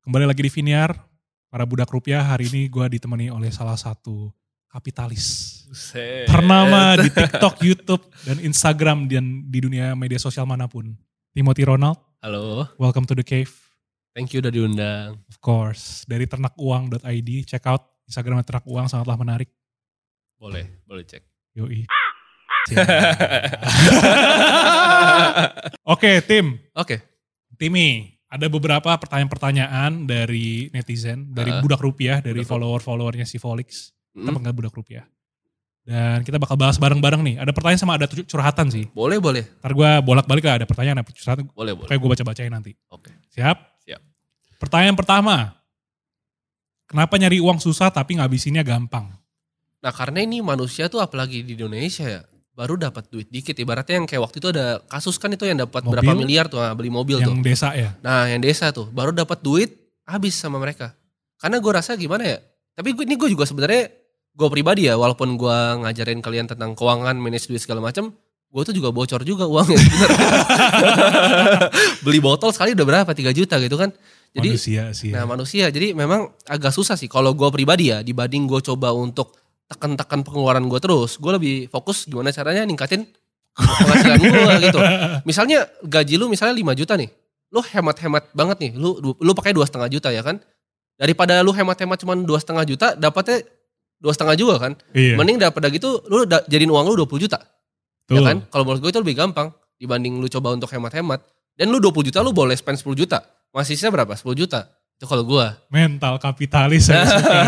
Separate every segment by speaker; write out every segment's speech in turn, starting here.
Speaker 1: Kembali lagi di Viniar, para budak rupiah. Hari ini gue ditemani oleh salah satu kapitalis
Speaker 2: Buset.
Speaker 1: ternama di TikTok, YouTube, dan Instagram dan di dunia media sosial manapun. Timothy Ronald,
Speaker 2: Halo,
Speaker 1: welcome to the cave.
Speaker 2: thank you udah diundang.
Speaker 1: Of course, dari ternakuang.id, check out Instagram ternak uang sangatlah menarik.
Speaker 2: Boleh, boleh cek.
Speaker 1: Yoi. Oke, tim.
Speaker 2: Oke,
Speaker 1: Timmy, ada beberapa pertanyaan-pertanyaan dari netizen, dari
Speaker 2: Ah.
Speaker 1: budak rupiah, dari
Speaker 2: Budak rupiah.
Speaker 1: follower-followernya si Volix. Kita
Speaker 2: Mm,
Speaker 1: panggil budak rupiah. Dan kita bakal bahas bareng-bareng nih. Ada pertanyaan sama ada tu- curhatan sih.
Speaker 2: boleh, boleh,
Speaker 1: Ntar gue bolak-balik lah ada pertanyaan, ada curhatan.
Speaker 2: boleh, boleh.
Speaker 1: Kayak gue baca-bacain nanti.
Speaker 2: Oke.
Speaker 1: Siap?
Speaker 2: Siap.
Speaker 1: Pertanyaan pertama. Kenapa nyari uang susah tapi ngabisinnya gampang?
Speaker 2: Nah karena ini manusia tuh apalagi di Indonesia ya baru dapat duit dikit. Ibaratnya yang kayak waktu itu ada kasus kan itu yang dapat
Speaker 1: Mobil.
Speaker 2: berapa miliar tuh nah, beli mobil tuh.
Speaker 1: Yang desa ya?
Speaker 2: Nah yang desa tuh baru dapat duit habis sama mereka. Karena gue rasa gimana ya. Tapi gue, ini gue juga sebenarnya gue pribadi ya walaupun gue ngajarin kalian tentang keuangan, manage duit segala macam, gue tuh juga bocor juga uangnya. Bener. Beli botol sekali udah berapa 3 juta gitu kan. Jadi
Speaker 1: Manusia sih. ya.
Speaker 2: Nah manusia jadi memang agak susah sih kalau gue pribadi ya dibanding gue coba untuk tekan-tekan pengeluaran gue terus gue lebih fokus gimana caranya ningkatin penghasilan gue gitu misalnya gaji lu misalnya 5 juta nih lu hemat-hemat banget nih lu lu pakai dua setengah juta ya kan daripada lu hemat-hemat cuma dua setengah juta dapatnya dua setengah juga kan
Speaker 1: Iya,
Speaker 2: mending daripada gitu lu da- jadiin uang lu 20 juta
Speaker 1: betul.
Speaker 2: ya kan? Kalau menurut gue itu lebih gampang dibanding lu coba untuk hemat-hemat. Dan lu 20 juta lu boleh spend 10 juta. Masih sisa berapa? 10 juta. Itu kalau gue.
Speaker 1: Mental kapitalis. saya suka.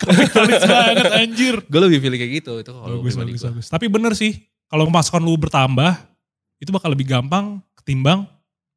Speaker 1: kapitalis banget anjir.
Speaker 2: gue lebih pilih kayak gitu. Itu kalau
Speaker 1: Bagus,
Speaker 2: pribadi
Speaker 1: bagus,
Speaker 2: gua.
Speaker 1: bagus. Tapi bener sih, kalau pemasukan lu bertambah, itu bakal lebih gampang ketimbang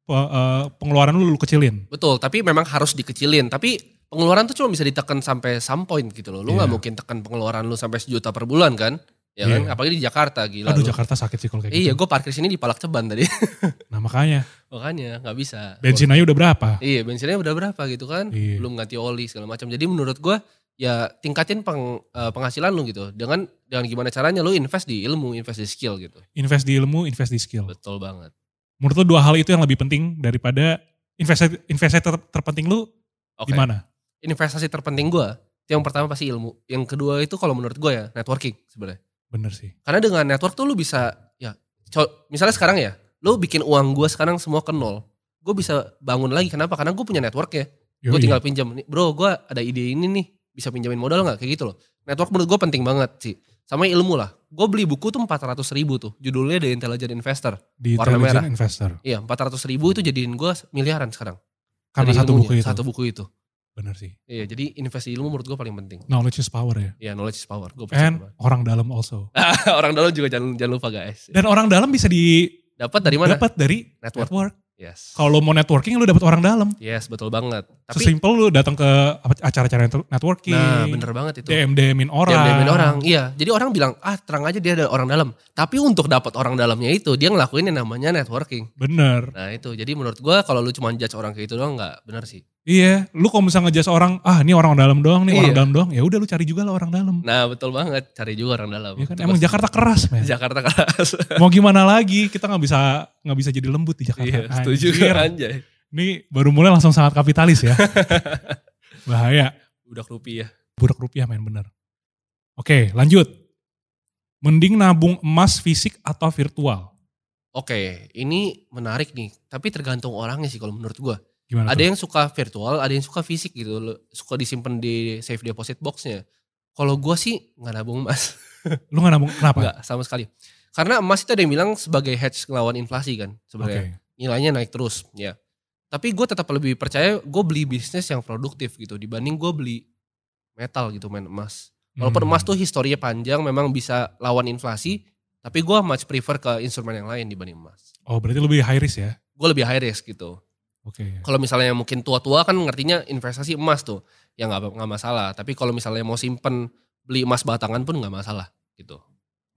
Speaker 1: pe- eh, pengeluaran lu lu kecilin.
Speaker 2: Betul, tapi memang harus dikecilin. Tapi pengeluaran tuh cuma bisa ditekan sampai some point gitu loh. Lu nggak
Speaker 1: Iya.
Speaker 2: mungkin tekan pengeluaran lu sampai sejuta per bulan kan? Ya kan?
Speaker 1: Iya.
Speaker 2: Apalagi di Jakarta gila.
Speaker 1: Aduh
Speaker 2: lu.
Speaker 1: Jakarta sakit sih kalau kayak
Speaker 2: Iya,
Speaker 1: gitu.
Speaker 2: gue parkir sini di Palak Ceban tadi.
Speaker 1: Nah makanya,
Speaker 2: Makanya nggak bisa.
Speaker 1: bensin aja udah berapa?
Speaker 2: Iya, bensinnya udah berapa gitu kan?
Speaker 1: Iya.
Speaker 2: belum ganti oli segala macam. Jadi menurut gua ya tingkatin peng- eh, penghasilan lu gitu dengan dengan gimana caranya lu invest di ilmu, invest di skill gitu.
Speaker 1: Invest di ilmu, invest di skill.
Speaker 2: Betul banget.
Speaker 1: Menurut lu dua hal itu yang lebih penting daripada investasi investasi ter- terpenting lu
Speaker 2: Oke.
Speaker 1: di mana?
Speaker 2: Investasi terpenting gua itu yang pertama pasti ilmu. Yang kedua itu kalau menurut gua ya networking sebenarnya.
Speaker 1: Bener sih.
Speaker 2: Karena dengan network tuh lu bisa ya co- misalnya sekarang ya, lu bikin uang gua sekarang semua ke nol. Gue bisa bangun lagi kenapa? Karena gue punya network ya. Gue
Speaker 1: Yoi.
Speaker 2: tinggal pinjam. Nih, Bro, gue ada ide ini nih. Bisa pinjamin modal nggak? Kayak gitu loh. Network menurut gue penting banget sih. Sama ilmu lah. Gue beli buku tuh 400 ribu tuh. Judulnya The Intelligent Investor.
Speaker 1: di
Speaker 2: warna
Speaker 1: Intelligent Investor.
Speaker 2: Iya, 400 ribu itu jadiin gue miliaran sekarang.
Speaker 1: Karena
Speaker 2: Dari
Speaker 1: satu
Speaker 2: ilmunya,
Speaker 1: buku itu.
Speaker 2: Satu buku itu.
Speaker 1: Bener sih.
Speaker 2: Iya, jadi invest di ilmu menurut gue paling penting.
Speaker 1: Knowledge is power ya.
Speaker 2: Iya, knowledge is power. Gue percaya
Speaker 1: And orang dalam also.
Speaker 2: banget. Orang dalam juga jangan, jangan lupa guys.
Speaker 1: Dan orang dalam bisa di
Speaker 2: Dapat dari mana?
Speaker 1: dapat dari
Speaker 2: Network.
Speaker 1: network.
Speaker 2: Yes.
Speaker 1: Kalau lo mau networking lu dapat orang dalam.
Speaker 2: Yes, betul banget. Tapi,
Speaker 1: Sesimpel lu datang ke apa- acara-acara net- networking.
Speaker 2: nah bener banget itu.
Speaker 1: DM DMin orang.
Speaker 2: Diam-diamin orang. Iya. Jadi orang bilang, ah terang aja dia ada orang dalam. Tapi untuk dapat orang dalamnya itu, dia ngelakuin yang namanya networking.
Speaker 1: Bener.
Speaker 2: Nah itu. Jadi menurut gua kalau lu cuma judge orang kayak itu doang nggak benar sih.
Speaker 1: Iya, lu kalau misalnya ngejas orang, ah ini orang dalam doang, nih orang
Speaker 2: Iya.
Speaker 1: dalam doang. Ya udah lu cari juga lah orang dalam.
Speaker 2: Nah betul banget. Cari juga orang dalam.
Speaker 1: Ya kan?
Speaker 2: Itu
Speaker 1: Emang
Speaker 2: pasti.
Speaker 1: Jakarta ya? keras, men.
Speaker 2: Jakarta keras.
Speaker 1: Mau gimana lagi? Kita nggak bisa nggak bisa jadi lembut di Jakarta.
Speaker 2: iya setuju
Speaker 1: Anjir.
Speaker 2: anjay.
Speaker 1: Ini baru mulai langsung sangat kapitalis ya. Bahaya.
Speaker 2: Budak rupiah.
Speaker 1: Buruk rupiah, men bener. Oke, lanjut. Mending nabung emas fisik atau virtual?
Speaker 2: Oke, ini menarik nih. Tapi tergantung orangnya sih kalau menurut gua
Speaker 1: Gimana?
Speaker 2: Ada
Speaker 1: tuh?
Speaker 2: yang suka virtual, ada yang suka fisik gitu. Lu- Suka disimpan di safe deposit boxnya. Kalau gua sih nggak nabung emas.
Speaker 1: lu nggak nabung kenapa?
Speaker 2: Enggak, sama sekali. Karena emas itu ada yang bilang sebagai hedge ngelawan inflasi kan
Speaker 1: Oke.
Speaker 2: sebenarnya. Nilainya naik terus, ya. Tapi gue tetap lebih percaya gue beli bisnis yang produktif gitu dibanding gue beli metal gitu main emas. Walaupun
Speaker 1: Hmm.
Speaker 2: emas tuh historinya panjang memang bisa lawan inflasi, tapi gue much prefer ke instrumen yang lain dibanding emas.
Speaker 1: Oh, berarti lebih high risk ya?
Speaker 2: Gue lebih high risk gitu.
Speaker 1: Oke.
Speaker 2: Kalau misalnya mungkin tua-tua kan ngertinya investasi emas tuh, ya nggak nggak masalah. Tapi kalau misalnya mau simpen beli emas batangan pun nggak masalah gitu.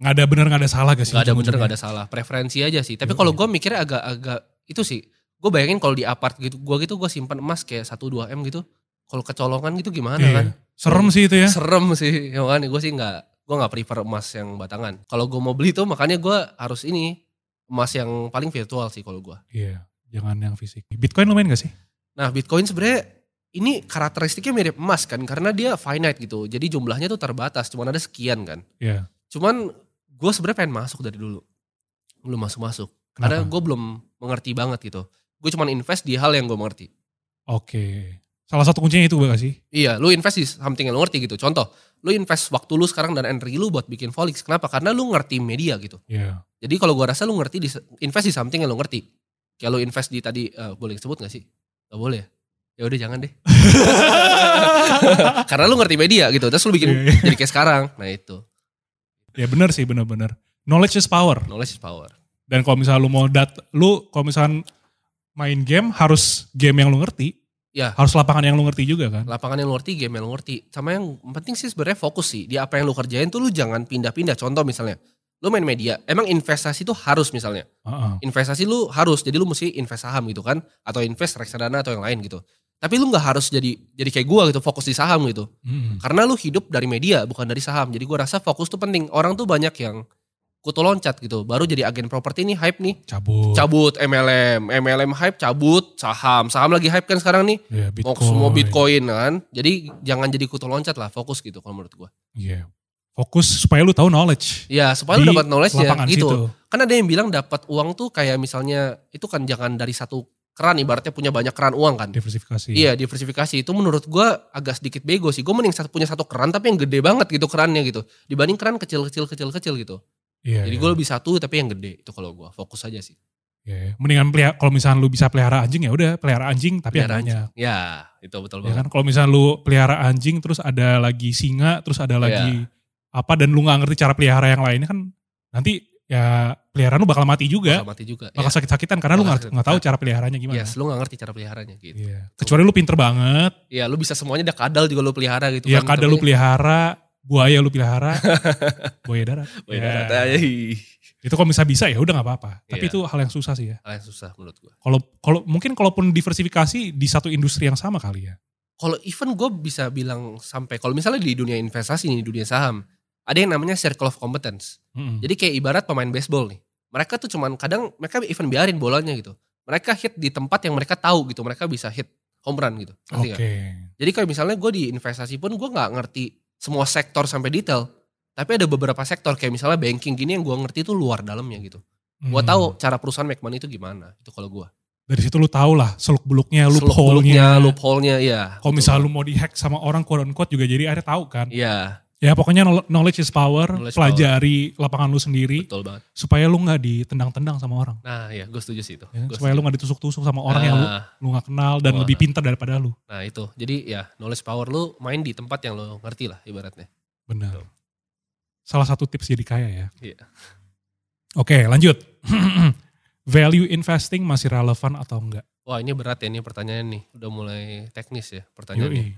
Speaker 1: Nggak ada benar nggak ada salah gak sih?
Speaker 2: Gak ada bener gak ada salah preferensi aja sih tapi
Speaker 1: Yoi.
Speaker 2: kalau gue mikirnya agak-agak itu sih gue bayangin kalau di apart gitu gue gitu gue simpan emas kayak 1-2 m gitu kalau kecolongan gitu gimana
Speaker 1: Iya.
Speaker 2: kan
Speaker 1: Serem sih itu ya.
Speaker 2: serem sih ya kan gue sih nggak gue nggak prefer emas yang batangan kalau gue mau beli tuh makanya gue harus ini emas yang paling virtual sih kalau gue
Speaker 1: Iya. Jangan yang fisik. Bitcoin lumayan gak sih?
Speaker 2: nah bitcoin sebenarnya ini karakteristiknya mirip emas kan karena dia finite gitu. Jadi jumlahnya tuh terbatas, cuman ada sekian kan.
Speaker 1: Iya.
Speaker 2: Cuman gue sebenarnya pengen masuk dari dulu. Belum masuk-masuk. Karena
Speaker 1: Kenapa?
Speaker 2: gue belum mengerti banget gitu. Gue cuman invest di hal yang gue mengerti.
Speaker 1: Oke. Salah satu kuncinya itu gak sih?
Speaker 2: Iya, lu invest di something yang lu ngerti gitu. Contoh, lu invest waktu lu sekarang dan energi lu buat bikin Volix. Kenapa? Karena lu ngerti media gitu.
Speaker 1: Iya.
Speaker 2: Jadi kalau gua rasa lu ngerti di invest di something yang lu ngerti. Kayak lu invest di tadi eh, boleh sebut gak sih? Gak boleh ya? Ya udah jangan deh. Karena lu ngerti media gitu. Terus lu bikin
Speaker 1: Iya, iya.
Speaker 2: jadi kayak sekarang. Nah itu.
Speaker 1: Ya bener sih bener-bener. Knowledge is power.
Speaker 2: Knowledge is power.
Speaker 1: Dan kalau misalnya lu mau dat, lu kalau misalkan main game harus game yang lu ngerti.
Speaker 2: Ya.
Speaker 1: Harus lapangan yang lu ngerti juga kan.
Speaker 2: Lapangan yang lu ngerti, game yang lu ngerti. Sama yang penting sih sebenarnya fokus sih. Di apa yang lu kerjain tuh lu jangan pindah-pindah. Contoh misalnya. Lu main media. Emang investasi tuh harus misalnya.
Speaker 1: Heeh.
Speaker 2: investasi lu harus jadi lu mesti invest saham gitu kan atau invest reksadana atau yang lain gitu tapi lu nggak harus jadi jadi kayak gua gitu fokus di saham gitu
Speaker 1: Mm-mm.
Speaker 2: karena lu hidup dari media bukan dari saham jadi gua rasa fokus tuh penting orang tuh banyak yang kutu loncat gitu baru jadi agen properti nih hype nih
Speaker 1: Cabut.
Speaker 2: cabut MLM MLM hype cabut saham saham lagi hype kan sekarang nih
Speaker 1: Ya,
Speaker 2: mau semua bitcoin kan jadi jangan jadi kutu loncat lah fokus gitu kalau menurut gua
Speaker 1: Iya. Fokus supaya lu tahu knowledge.
Speaker 2: ya supaya
Speaker 1: Di
Speaker 2: lu dapat knowledge nya
Speaker 1: Lapangan
Speaker 2: gitu
Speaker 1: situ.
Speaker 2: kan ada yang bilang dapat uang tuh kayak misalnya itu kan jangan dari satu keran ibaratnya punya banyak keran uang kan
Speaker 1: Diversifikasi.
Speaker 2: iya diversifikasi itu menurut gua agak sedikit bego sih gue mending satu- punya satu keran tapi yang gede banget gitu kerannya gitu dibanding keran kecil kecil kecil kecil gitu
Speaker 1: Iya,
Speaker 2: jadi
Speaker 1: iya.
Speaker 2: gue lebih satu tapi yang gede itu kalau gua fokus aja sih
Speaker 1: Iya, iya. Mendingan pelihara, kalau misalnya lu bisa pelihara anjing ya udah pelihara anjing tapi yang
Speaker 2: Pelihara
Speaker 1: banyak.
Speaker 2: ya itu betul
Speaker 1: Ya
Speaker 2: banget
Speaker 1: kan kalau misalnya lu pelihara anjing terus ada lagi singa, terus ada
Speaker 2: Iya.
Speaker 1: lagi apa dan lu nggak ngerti cara pelihara yang lainnya kan nanti ya peliharaan lu bakal mati juga.
Speaker 2: Bakal mati juga
Speaker 1: bakal
Speaker 2: ya.
Speaker 1: sakit-sakitan karena lu
Speaker 2: Bakal
Speaker 1: nggak nggak tahu cara peliharanya gimana.
Speaker 2: Yes, lu gak ngerti cara peliharanya gitu.
Speaker 1: Iya. Kecuali lu pinter banget,
Speaker 2: Ya lu bisa semuanya ada kadal juga lu pelihara gitu
Speaker 1: ya
Speaker 2: kan.
Speaker 1: kada lu pelihara, buaya lu pelihara, buaya darat.
Speaker 2: Wih,
Speaker 1: Ya.
Speaker 2: darat aja. Ih,
Speaker 1: Itu kalau bisa bisa ya udah nggak apa-apa. Tapi
Speaker 2: Iya.
Speaker 1: itu hal yang susah sih ya.
Speaker 2: Hal yang susah menurut gua
Speaker 1: Kalau kalau mungkin kalaupun diversifikasi di satu industri yang sama kali ya.
Speaker 2: kalau even gue bisa bilang sampai kalau misalnya di dunia investasi nih, di dunia saham ada yang namanya circle of competence
Speaker 1: Mm-mm.
Speaker 2: jadi kayak ibarat pemain baseball nih mereka tuh cuman kadang mereka even biarin bolanya gitu mereka hit di tempat yang mereka tahu gitu mereka bisa hit home run gitu
Speaker 1: Oke.
Speaker 2: Ngerti nggak? jadi kayak misalnya gue di investasi pun gue nggak ngerti semua sektor sampai detail tapi ada beberapa sektor kayak misalnya banking gini yang gue ngerti tuh luar dalamnya gitu gue
Speaker 1: Mm.
Speaker 2: tahu cara perusahaan make money itu gimana itu kalau gue
Speaker 1: Dari situ lu tahu lah seluk beluknya, loophole-nya.
Speaker 2: Seluk-beluknya, loophole-nya ya
Speaker 1: Kalau misalnya lu mau dihack sama orang quote unquote juga jadi akhirnya tahu kan.
Speaker 2: Iya,
Speaker 1: Ya pokoknya know- knowledge is power,
Speaker 2: Knowledge
Speaker 1: pelajari lapangan lu sendiri
Speaker 2: betul banget.
Speaker 1: supaya lu nggak ditendang-tendang sama orang.
Speaker 2: Nah, ya gue setuju sih itu.
Speaker 1: Ya,
Speaker 2: Gua
Speaker 1: supaya lu gak ditusuk-tusuk sama orang yang lu
Speaker 2: Nah,
Speaker 1: lu gak kenal dan
Speaker 2: Wah.
Speaker 1: lebih pintar daripada lu.
Speaker 2: Nah itu, jadi ya knowledge power lu main di tempat yang lu ngerti lah ibaratnya.
Speaker 1: Benar.
Speaker 2: Betul.
Speaker 1: Salah satu tips jadi kaya ya.
Speaker 2: Iya.
Speaker 1: Oke, lanjut. Value investing masih relevan atau enggak?
Speaker 2: Wah ini berat ya ini pertanyaan nih, udah mulai teknis ya pertanyaannya.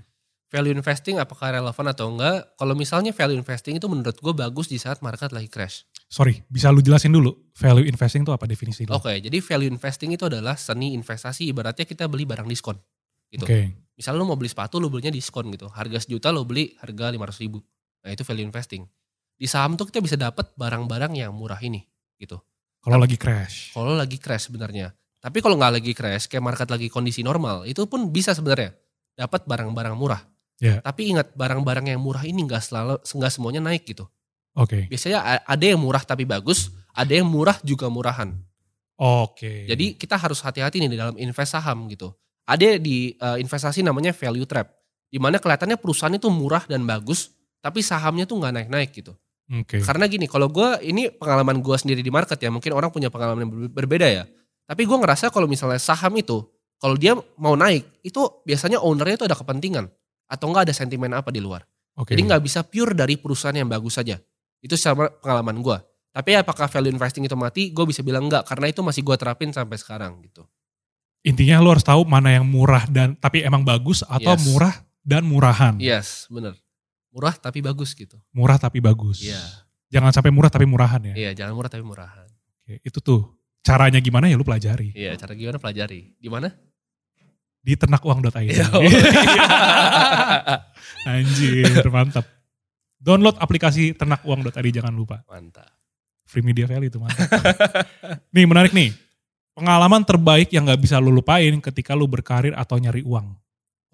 Speaker 1: Yoi.
Speaker 2: Value investing apakah relevan atau enggak? Kalau misalnya value investing itu menurut gue bagus di saat market lagi crash.
Speaker 1: Sorry, bisa lu jelasin dulu value investing itu apa definisi lu?
Speaker 2: Oke, jadi value investing itu adalah seni investasi ibaratnya kita beli barang diskon. gitu.
Speaker 1: Oke.
Speaker 2: Misalnya lu mau beli sepatu lu belinya diskon gitu, harga sejuta lu beli harga 500 ribu. Nah itu value investing. Di saham tuh kita bisa dapat barang-barang yang murah ini gitu.
Speaker 1: Kalau lagi crash.
Speaker 2: kalau lagi crash sebenarnya. Tapi kalau nggak lagi crash, kayak market lagi kondisi normal, itu pun bisa sebenarnya dapat barang-barang murah.
Speaker 1: Iya.
Speaker 2: Tapi ingat barang-barang yang murah ini nggak selalu nggak semuanya naik gitu.
Speaker 1: Oke.
Speaker 2: Biasanya a- ada yang murah tapi bagus, ada yang murah juga murahan.
Speaker 1: Oke.
Speaker 2: Jadi kita harus hati-hati nih di dalam invest saham gitu. Ada di eh, investasi namanya value trap, di mana kelihatannya perusahaan itu murah dan bagus, tapi sahamnya tuh nggak naik-naik gitu.
Speaker 1: Oke.
Speaker 2: Karena gini, kalau gue ini pengalaman gue sendiri di market ya, mungkin orang punya pengalaman yang ber- berbeda ya. Tapi gue ngerasa kalau misalnya saham itu, kalau dia mau naik, itu biasanya ownernya itu ada kepentingan atau enggak ada sentimen apa di luar.
Speaker 1: Oke.
Speaker 2: Jadi nggak bisa pure dari perusahaan yang bagus saja. Itu sama pengalaman gue. Tapi apakah value investing itu mati? Gue bisa bilang enggak karena itu masih gue terapin sampai sekarang gitu.
Speaker 1: Intinya lu harus tahu mana yang murah dan tapi emang bagus atau
Speaker 2: Yes. Iya.
Speaker 1: murah dan murahan.
Speaker 2: Yes, bener. Murah tapi bagus gitu.
Speaker 1: Murah tapi bagus.
Speaker 2: Iya.
Speaker 1: Jangan sampai murah tapi murahan ya.
Speaker 2: Iya, jangan murah tapi murahan.
Speaker 1: Oke, Itu tuh caranya gimana ya lu pelajari.
Speaker 2: Iya, cara gimana pelajari? Di mana?
Speaker 1: Di ternakuang.id.
Speaker 2: Iya.
Speaker 1: Anjir, mantap. Download aplikasi ternakuang.id jangan lupa.
Speaker 2: Mantap.
Speaker 1: Free Media Value itu mantap. nih menarik nih. Pengalaman terbaik yang gak bisa lu lupain ketika lu berkarir atau nyari uang.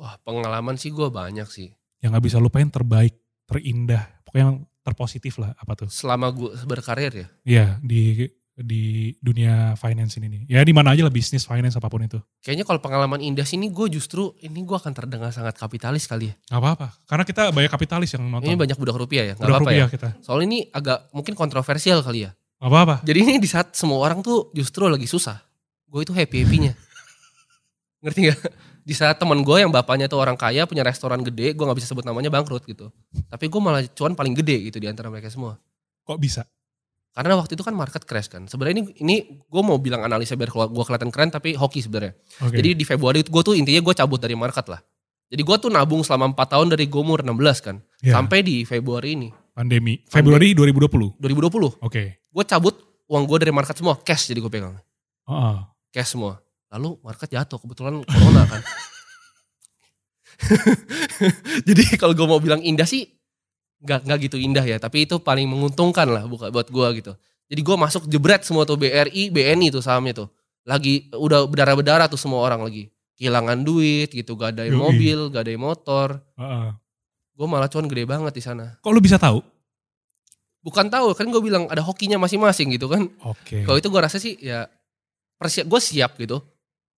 Speaker 2: Wah pengalaman sih gue banyak sih.
Speaker 1: Yang nggak bisa lupain terbaik, terindah, pokoknya yang terpositif lah apa tuh?
Speaker 2: Selama gue berkarir ya.
Speaker 1: Iya di di dunia finance ini nih. Ya di mana aja lah bisnis finance apapun itu.
Speaker 2: Kayaknya kalau pengalaman indah sini gue justru ini gue akan terdengar sangat kapitalis kali ya.
Speaker 1: Gak apa-apa. Karena kita banyak kapitalis yang nonton.
Speaker 2: Ini banyak budak rupiah ya. Gak
Speaker 1: Udah
Speaker 2: apa-apa ya.
Speaker 1: rupiah kita.
Speaker 2: Soal ini agak mungkin kontroversial kali ya.
Speaker 1: Gak apa-apa.
Speaker 2: Jadi ini di saat semua orang tuh justru lagi susah. Gue itu happy-happynya. Ngerti gak? Di saat teman gue yang bapaknya tuh orang kaya punya restoran gede, gue gak bisa sebut namanya bangkrut gitu. Tapi gue malah cuan paling gede gitu di antara mereka semua.
Speaker 1: Kok bisa?
Speaker 2: Karena waktu itu kan market crash kan. Sebenarnya ini ini gue mau bilang analisa biar gue kelihatan keren tapi hoki sebenarnya.
Speaker 1: Oke.
Speaker 2: Jadi di Februari gue tuh intinya gue cabut dari market lah. Jadi gue tuh nabung selama 4 tahun dari gue umur 16 kan.
Speaker 1: Ya,
Speaker 2: Sampai di Februari ini,
Speaker 1: pandemi. Februari 2020.
Speaker 2: 2020.
Speaker 1: Oke.
Speaker 2: Gue cabut uang gue dari market semua, cash jadi gue pegang.
Speaker 1: Heeh.
Speaker 2: cash semua. Lalu market jatuh kebetulan corona kan. Jadi kalau gue mau bilang indah sih nggak nggak gitu indah ya, tapi itu paling menguntungkan lah buka buat gue gitu. Jadi gue masuk jebret semua tuh BRI, BNI tuh sahamnya tuh. Lagi udah berdarah-berdarah tuh semua orang lagi. Kehilangan duit gitu, gadai
Speaker 1: Yoi.
Speaker 2: mobil, gadai motor.
Speaker 1: Heeh.
Speaker 2: Gue malah cuan gede banget di sana.
Speaker 1: Kok lu bisa tahu?
Speaker 2: Bukan tahu kan gue bilang ada hokinya masing-masing gitu kan.
Speaker 1: Oke.
Speaker 2: Kalau itu gue rasa sih ya persiap gue siap gitu.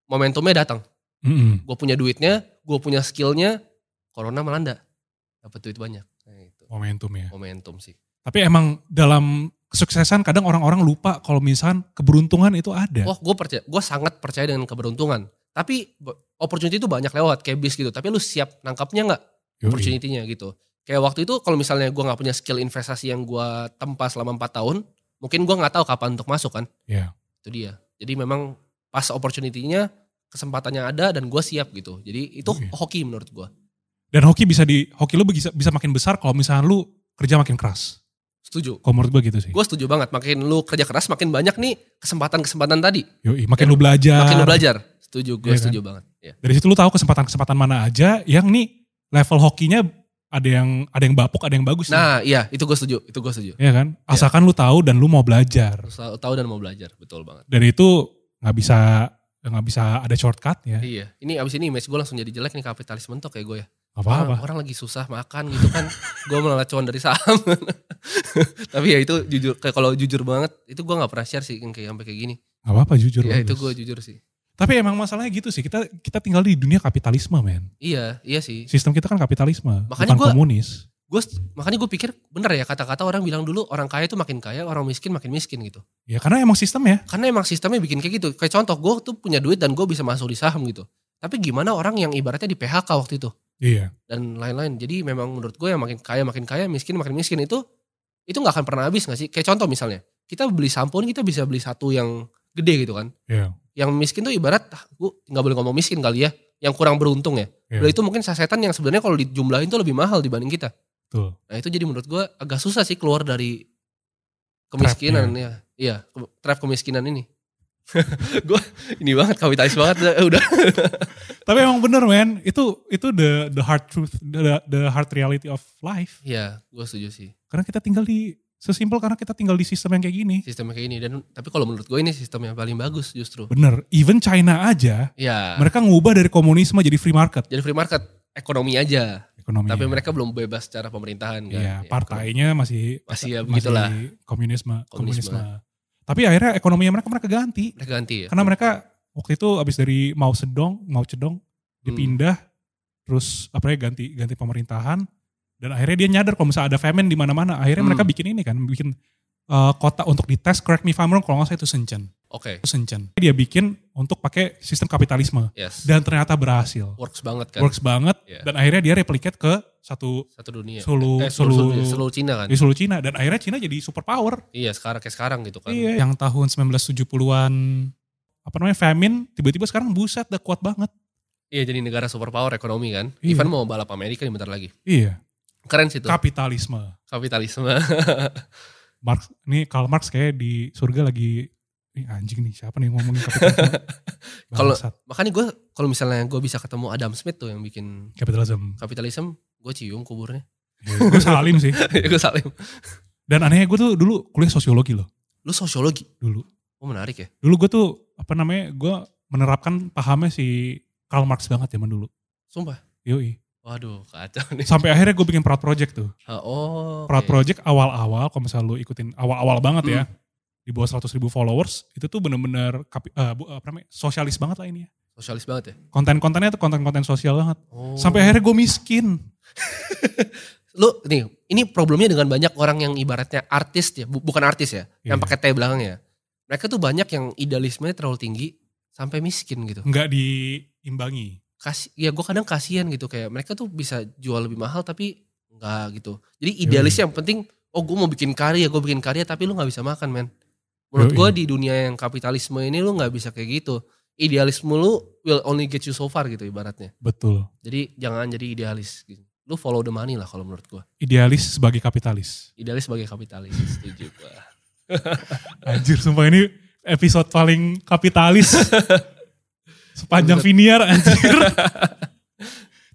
Speaker 2: Momentumnya datang.
Speaker 1: Mm-mm.
Speaker 2: gue punya duitnya, gue punya skillnya, corona melanda, dapat duit banyak. Nah, itu
Speaker 1: Momentum ya.
Speaker 2: momentum sih.
Speaker 1: Tapi emang dalam kesuksesan kadang orang-orang lupa kalau misalkan keberuntungan itu ada.
Speaker 2: Wah, gue percaya, gue sangat percaya dengan keberuntungan. Tapi b- opportunity itu banyak lewat kayak bis gitu. Tapi lu siap nangkapnya nggak
Speaker 1: Yoi.
Speaker 2: opportunity-nya gitu? Kayak waktu itu kalau misalnya gue nggak punya skill investasi yang gue tempa selama 4 tahun, mungkin gue nggak tahu kapan untuk masuk kan?
Speaker 1: Iya.
Speaker 2: Itu dia. Jadi memang pas opportunity-nya kesempatannya ada dan gue siap gitu. Jadi itu
Speaker 1: Oke.
Speaker 2: hoki menurut gue.
Speaker 1: Dan hoki bisa di hoki lu bisa bisa makin besar kalau misalkan lu kerja makin keras.
Speaker 2: Setuju.
Speaker 1: Kalau menurut gue gitu sih.
Speaker 2: Gue setuju banget, makin lu kerja keras makin banyak nih kesempatan-kesempatan tadi.
Speaker 1: Yoi, makin lu belajar.
Speaker 2: Makin lu belajar. Setuju,
Speaker 1: Nah.
Speaker 2: gue
Speaker 1: Iya kan?
Speaker 2: setuju banget. Ya.
Speaker 1: Dari situ lu tahu kesempatan-kesempatan mana aja yang nih level hokinya ada yang ada yang bapuk, ada yang bagus. nih.
Speaker 2: Nah iya, itu gue setuju, itu gue setuju.
Speaker 1: Iya kan? Asalkan lu tahu dan lu mau belajar.
Speaker 2: Harus tahu- tahu dan mau belajar, betul banget.
Speaker 1: Dan itu nggak bisa nggak bisa ada shortcut ya.
Speaker 2: Iya, ini abis ini image gue langsung jadi jelek nih kapitalis mentok kayak gue ya. Orang,
Speaker 1: Apa-apa.
Speaker 2: orang lagi susah makan gitu kan, gue malah cuan dari saham. Tapi ya itu jujur, kayak kalau jujur banget, itu gue nggak pernah share sih yang kayak sampai kayak gini.
Speaker 1: Gak apa-apa jujur.
Speaker 2: Ya itu
Speaker 1: bagus.
Speaker 2: gue jujur sih.
Speaker 1: Tapi emang masalahnya gitu sih. Kita kita tinggal di dunia kapitalisme, men.
Speaker 2: Iya, iya sih.
Speaker 1: Sistem kita kan kapitalisme, bukan
Speaker 2: Makanya gua-
Speaker 1: komunis.
Speaker 2: Gue makanya gue pikir bener ya kata-kata orang bilang dulu orang kaya itu makin kaya, orang miskin makin miskin gitu.
Speaker 1: Ya karena emang sistem ya.
Speaker 2: karena emang sistemnya bikin kayak gitu. Kayak contoh gue tuh punya duit dan gue bisa masuk di saham gitu. Tapi gimana orang yang ibaratnya di PHK waktu itu
Speaker 1: Iya.
Speaker 2: dan lain-lain. Jadi memang menurut gue yang makin kaya makin kaya, miskin makin miskin itu itu nggak akan pernah habis nggak sih? Kayak contoh misalnya kita beli sampo kita bisa beli satu yang gede gitu kan.
Speaker 1: Iya.
Speaker 2: Yang miskin tuh ibarat ah, gue nggak boleh ngomong miskin kali ya. Yang kurang beruntung ya.
Speaker 1: Iya.
Speaker 2: Udah itu mungkin sasetan yang sebenarnya kalau dijumlahin tuh lebih mahal dibanding kita.
Speaker 1: Betul.
Speaker 2: Nah itu jadi menurut gue agak susah sih keluar dari kemiskinan ya. Iya, ke- trap kemiskinan ini. gue ini banget kapitalis banget eh, udah.
Speaker 1: Tapi emang bener, men. Itu itu the the hard truth, the the hard reality of life.
Speaker 2: Iya, gue setuju sih.
Speaker 1: Karena kita tinggal di sesimpel karena kita tinggal di sistem yang kayak gini.
Speaker 2: Sistemnya kayak ini dan tapi kalau menurut gue ini sistem yang paling bagus justru.
Speaker 1: Bener. Even China aja
Speaker 2: Ya.
Speaker 1: mereka ngubah dari komunisme jadi free market
Speaker 2: Jadi free market ekonomi aja,
Speaker 1: ekonomi.
Speaker 2: tapi mereka belum bebas secara pemerintahan kan.
Speaker 1: Iya,
Speaker 2: Ya,
Speaker 1: partainya masih
Speaker 2: Masih ya
Speaker 1: masih
Speaker 2: begitulah.
Speaker 1: komunisme,
Speaker 2: Komunisme.
Speaker 1: komunisme. Tapi akhirnya ekonominya mereka mereka ganti.
Speaker 2: Mereka ganti ya.
Speaker 1: Karena mereka waktu itu abis dari Mao Sedong, Mao Cedong dipindah, terus apa ya ganti ganti pemerintahan dan akhirnya dia nyadar kalau misalnya ada famine di mana-mana, akhirnya
Speaker 2: Hmm.
Speaker 1: mereka bikin ini kan, bikin eh, kota untuk dites. Correct me if I'm wrong, kalau nggak salah itu Shenzhen.
Speaker 2: Hmm, Oke,
Speaker 1: Itu Shenzhen. Dia bikin untuk pakai sistem kapitalisme
Speaker 2: yes.
Speaker 1: dan ternyata berhasil,
Speaker 2: Works banget kan.
Speaker 1: works banget
Speaker 2: Iya.
Speaker 1: dan akhirnya dia replicate ke satu
Speaker 2: Satu dunia.
Speaker 1: sulu
Speaker 2: Eh,
Speaker 1: sulu
Speaker 2: seluruh, dunia, seluruh Cina kan.
Speaker 1: di seluruh Cina dan akhirnya Cina jadi superpower.
Speaker 2: Iya, sekarang kayak sekarang gitu kan.
Speaker 1: Iya, yang tahun 1970-an apa namanya famine tiba-tiba sekarang buset udah kuat banget.
Speaker 2: Iya, jadi negara superpower ekonomi kan.
Speaker 1: Iya.
Speaker 2: Even mau balap Amerika nih bentar lagi.
Speaker 1: Iya,
Speaker 2: Keren sih itu.
Speaker 1: kapitalisme.
Speaker 2: kapitalisme.
Speaker 1: Marx ini Karl Marx kayak di surga lagi ini anjing nih siapa nih yang ngomongin kapitalisme?
Speaker 2: Kalau-
Speaker 1: Bangsat,
Speaker 2: Makanya gue kalau misalnya gue bisa ketemu Adam Smith tuh yang bikin
Speaker 1: kapitalisme.
Speaker 2: kapitalisme, gue cium kuburnya.
Speaker 1: Ya, gue salim sih.
Speaker 2: gue salim.
Speaker 1: Dan anehnya gue tuh dulu kuliah sosiologi loh
Speaker 2: Lu sosiologi.
Speaker 1: dulu.
Speaker 2: Oh menarik ya.
Speaker 1: Dulu gue tuh apa namanya gue menerapkan pahamnya si Karl Marx banget zaman dulu.
Speaker 2: Sumpah.
Speaker 1: Yoi.
Speaker 2: Waduh, kacau nih.
Speaker 1: Sampai akhirnya gue bikin Proud Project tuh.
Speaker 2: Ah, Oh.
Speaker 1: Proud
Speaker 2: oke.
Speaker 1: Project awal-awal, kalau misalnya lu ikutin awal-awal banget ya,
Speaker 2: Hmm.
Speaker 1: di bawah 100 ribu followers, itu tuh bener-bener kapi- eh, bu- apa namanya, sosialis banget lah ini ya.
Speaker 2: Sosialis banget ya.
Speaker 1: Konten-kontennya tuh konten-konten sosial banget.
Speaker 2: Oh.
Speaker 1: Sampai akhirnya gue miskin.
Speaker 2: lu nih, ini problemnya dengan banyak orang yang ibaratnya artis ya, bu- bukan artis ya, yang
Speaker 1: Iya.
Speaker 2: pakai T belakangnya. Mereka tuh banyak yang idealismenya terlalu tinggi sampai miskin gitu.
Speaker 1: Nggak diimbangi.
Speaker 2: Kasih ya gue kadang kasihan gitu kayak mereka tuh bisa jual lebih mahal tapi enggak gitu. Jadi
Speaker 1: Iya,
Speaker 2: idealisnya yang penting oh gue mau bikin karya, gue bikin karya tapi lu nggak bisa makan, men. Menurut
Speaker 1: Yoi.
Speaker 2: gue di dunia yang kapitalisme ini lu nggak bisa kayak gitu. Idealisme lu will only get you so far gitu ibaratnya.
Speaker 1: Betul.
Speaker 2: Jadi jangan jadi idealis gitu. Lu follow the money lah kalau menurut gue.
Speaker 1: Idealis sebagai kapitalis.
Speaker 2: Idealis sebagai kapitalis, setuju gue.
Speaker 1: Anjir, sumpah ini episode paling kapitalis. Sepanjang Viniar, anjir.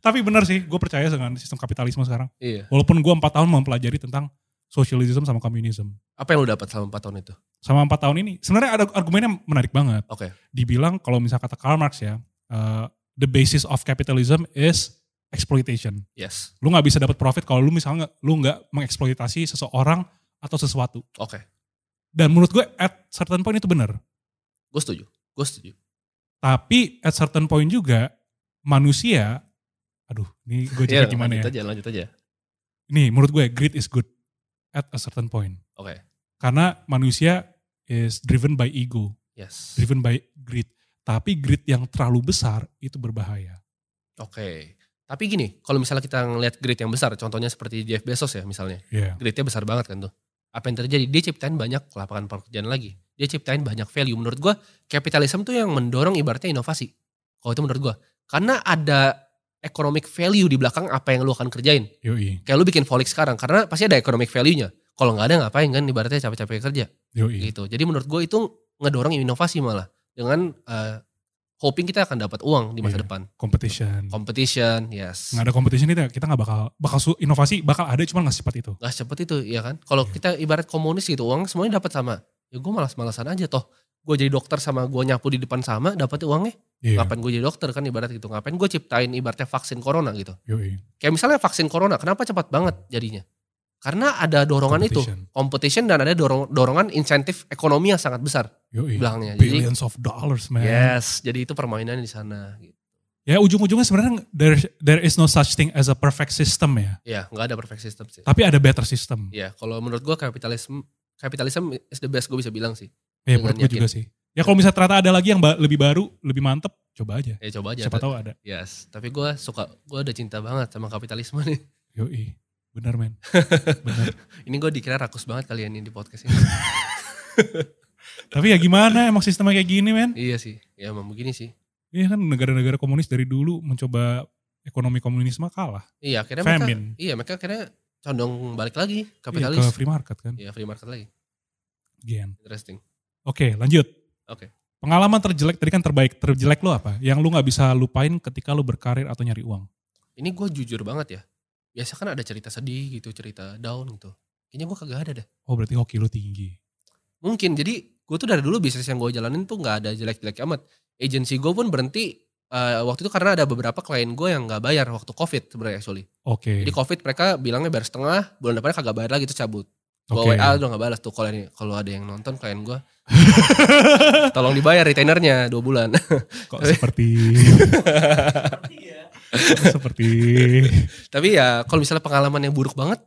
Speaker 1: Tapi benar sih, gue percaya dengan sistem kapitalisme sekarang.
Speaker 2: Iya.
Speaker 1: Walaupun gue empat tahun mempelajari tentang sosialisme sama komunisme.
Speaker 2: Apa yang lu dapat selama 4 tahun itu?
Speaker 1: Sama empat tahun ini, sebenarnya ada argumennya menarik banget.
Speaker 2: Oke.
Speaker 1: Dibilang kalau misalnya kata Karl Marx ya, uh, the basis of capitalism is exploitation.
Speaker 2: Yes.
Speaker 1: Lu nggak bisa dapat profit kalau lu misalnya nggak- lu nggak mengeksploitasi seseorang atau sesuatu.
Speaker 2: Oke.
Speaker 1: Dan menurut gue at certain point itu benar.
Speaker 2: Gue setuju. Gue setuju.
Speaker 1: Tapi at certain point juga manusia, aduh ini gue
Speaker 2: Iya,
Speaker 1: jadi gimana ya.
Speaker 2: lanjut aja, lanjut aja.
Speaker 1: Nih menurut gue greed is good at a certain point.
Speaker 2: Oke.
Speaker 1: Karena manusia is driven by ego,
Speaker 2: Yes. Oke.
Speaker 1: driven by greed. Tapi greed yang terlalu besar itu berbahaya.
Speaker 2: Tapi gini, kalau misalnya kita ngelihat grid yang besar, contohnya seperti Jeff Bezos ya misalnya.
Speaker 1: Iya.
Speaker 2: Gridnya besar banget kan tuh. Apa yang terjadi? Dia ciptain banyak lapangan pekerjaan lagi. Dia ciptain banyak value. Menurut gue, kapitalisme tuh yang mendorong ibaratnya inovasi. Kalau itu menurut gue. Karena ada economic value di belakang apa yang lu akan kerjain.
Speaker 1: Yoi,
Speaker 2: Kayak lu bikin Folik sekarang, karena pasti ada economic value-nya. Kalau nggak ada ngapain kan ibaratnya capek-capek kerja.
Speaker 1: yoi.
Speaker 2: gitu. Jadi menurut gue itu ngedorong inovasi malah dengan eh, hoping kita akan dapat uang di masa
Speaker 1: Iya.
Speaker 2: depan.
Speaker 1: Competition.
Speaker 2: Competition, yes.
Speaker 1: Nggak ada competition itu ya, kita nggak bakal, bakal su- inovasi bakal ada cuma nggak secepat itu.
Speaker 2: Nggak seperti itu, ya kan? Kalau
Speaker 1: Iya.
Speaker 2: kita ibarat komunis gitu, uang semuanya dapat sama. Ya gue malas-malasan aja toh. Gue jadi dokter sama gue nyapu di depan sama, dapat uangnya.
Speaker 1: Iya,
Speaker 2: Ngapain gue jadi dokter kan ibarat gitu. Ngapain gue ciptain ibaratnya vaksin corona gitu.
Speaker 1: yoi.
Speaker 2: Kayak misalnya vaksin corona, kenapa cepat banget jadinya? Karena ada dorongan itu.
Speaker 1: Competition.
Speaker 2: Competition dan ada dorong- dorongan insentif ekonomi yang sangat besar
Speaker 1: Yoi.
Speaker 2: di belakangnya. Jadi,
Speaker 1: Billions of dollars man.
Speaker 2: yes, jadi itu permainan di sana. gitu.
Speaker 1: Ya ujung-ujungnya sebenarnya there there is no such thing as a perfect system ya.
Speaker 2: Ya, nggak ada perfect system sih.
Speaker 1: Tapi ada better system.
Speaker 2: Ya, kalau menurut gua kapitalisme kapitalisme is the best gue bisa bilang sih.
Speaker 1: Ya,
Speaker 2: Dengan
Speaker 1: menurut gue
Speaker 2: yakin.
Speaker 1: juga sih. Ya kalau misalnya ternyata ada lagi yang ba- lebih baru, lebih mantep, coba aja.
Speaker 2: Ya coba aja.
Speaker 1: Siapa tahu ada.
Speaker 2: Yes, tapi gua suka gua udah cinta banget sama kapitalisme nih.
Speaker 1: Yoi. Benar men. Benar.
Speaker 2: Ini gua dikira rakus banget kalian ini di podcast ini.
Speaker 1: Tapi ya gimana emang sistemnya kayak gini men.
Speaker 2: iya sih, ya emang begini sih.
Speaker 1: Iya kan negara-negara komunis dari dulu mencoba ekonomi komunisme kalah.
Speaker 2: Iya, akhirnya mereka
Speaker 1: Famine.
Speaker 2: iya mereka akhirnya condong balik lagi
Speaker 1: Iya,
Speaker 2: kapitalis.
Speaker 1: ke
Speaker 2: Iya,
Speaker 1: free market kan.
Speaker 2: free market lagi.
Speaker 1: Gen.
Speaker 2: Interesting.
Speaker 1: Oke lanjut.
Speaker 2: Oke.
Speaker 1: Pengalaman terjelek tadi kan terbaik. Terjelek lo apa? Yang lu nggak bisa lupain ketika lu berkarir atau nyari uang.
Speaker 2: Ini gua jujur banget ya. Biasa kan ada cerita sedih gitu, cerita down gitu. Kayaknya gua kagak ada deh.
Speaker 1: Oh berarti hoki lu tinggi.
Speaker 2: mungkin jadi gue tuh dari dulu bisnis yang gue jalanin tuh nggak ada jelek-jelek amat agensi gue pun berhenti eh, waktu itu karena ada beberapa klien gue yang nggak bayar waktu covid sebenarnya actually
Speaker 1: Oke.
Speaker 2: jadi covid mereka bilangnya bayar setengah bulan depannya kagak bayar lagi terus cabut gue
Speaker 1: Oke.
Speaker 2: wa udah nggak balas tuh kalau ini- kalau ada yang nonton klien gue tolong dibayar retainernya dua bulan
Speaker 1: Kok seperti Kok seperti
Speaker 2: tapi ya kalau misalnya pengalaman yang buruk banget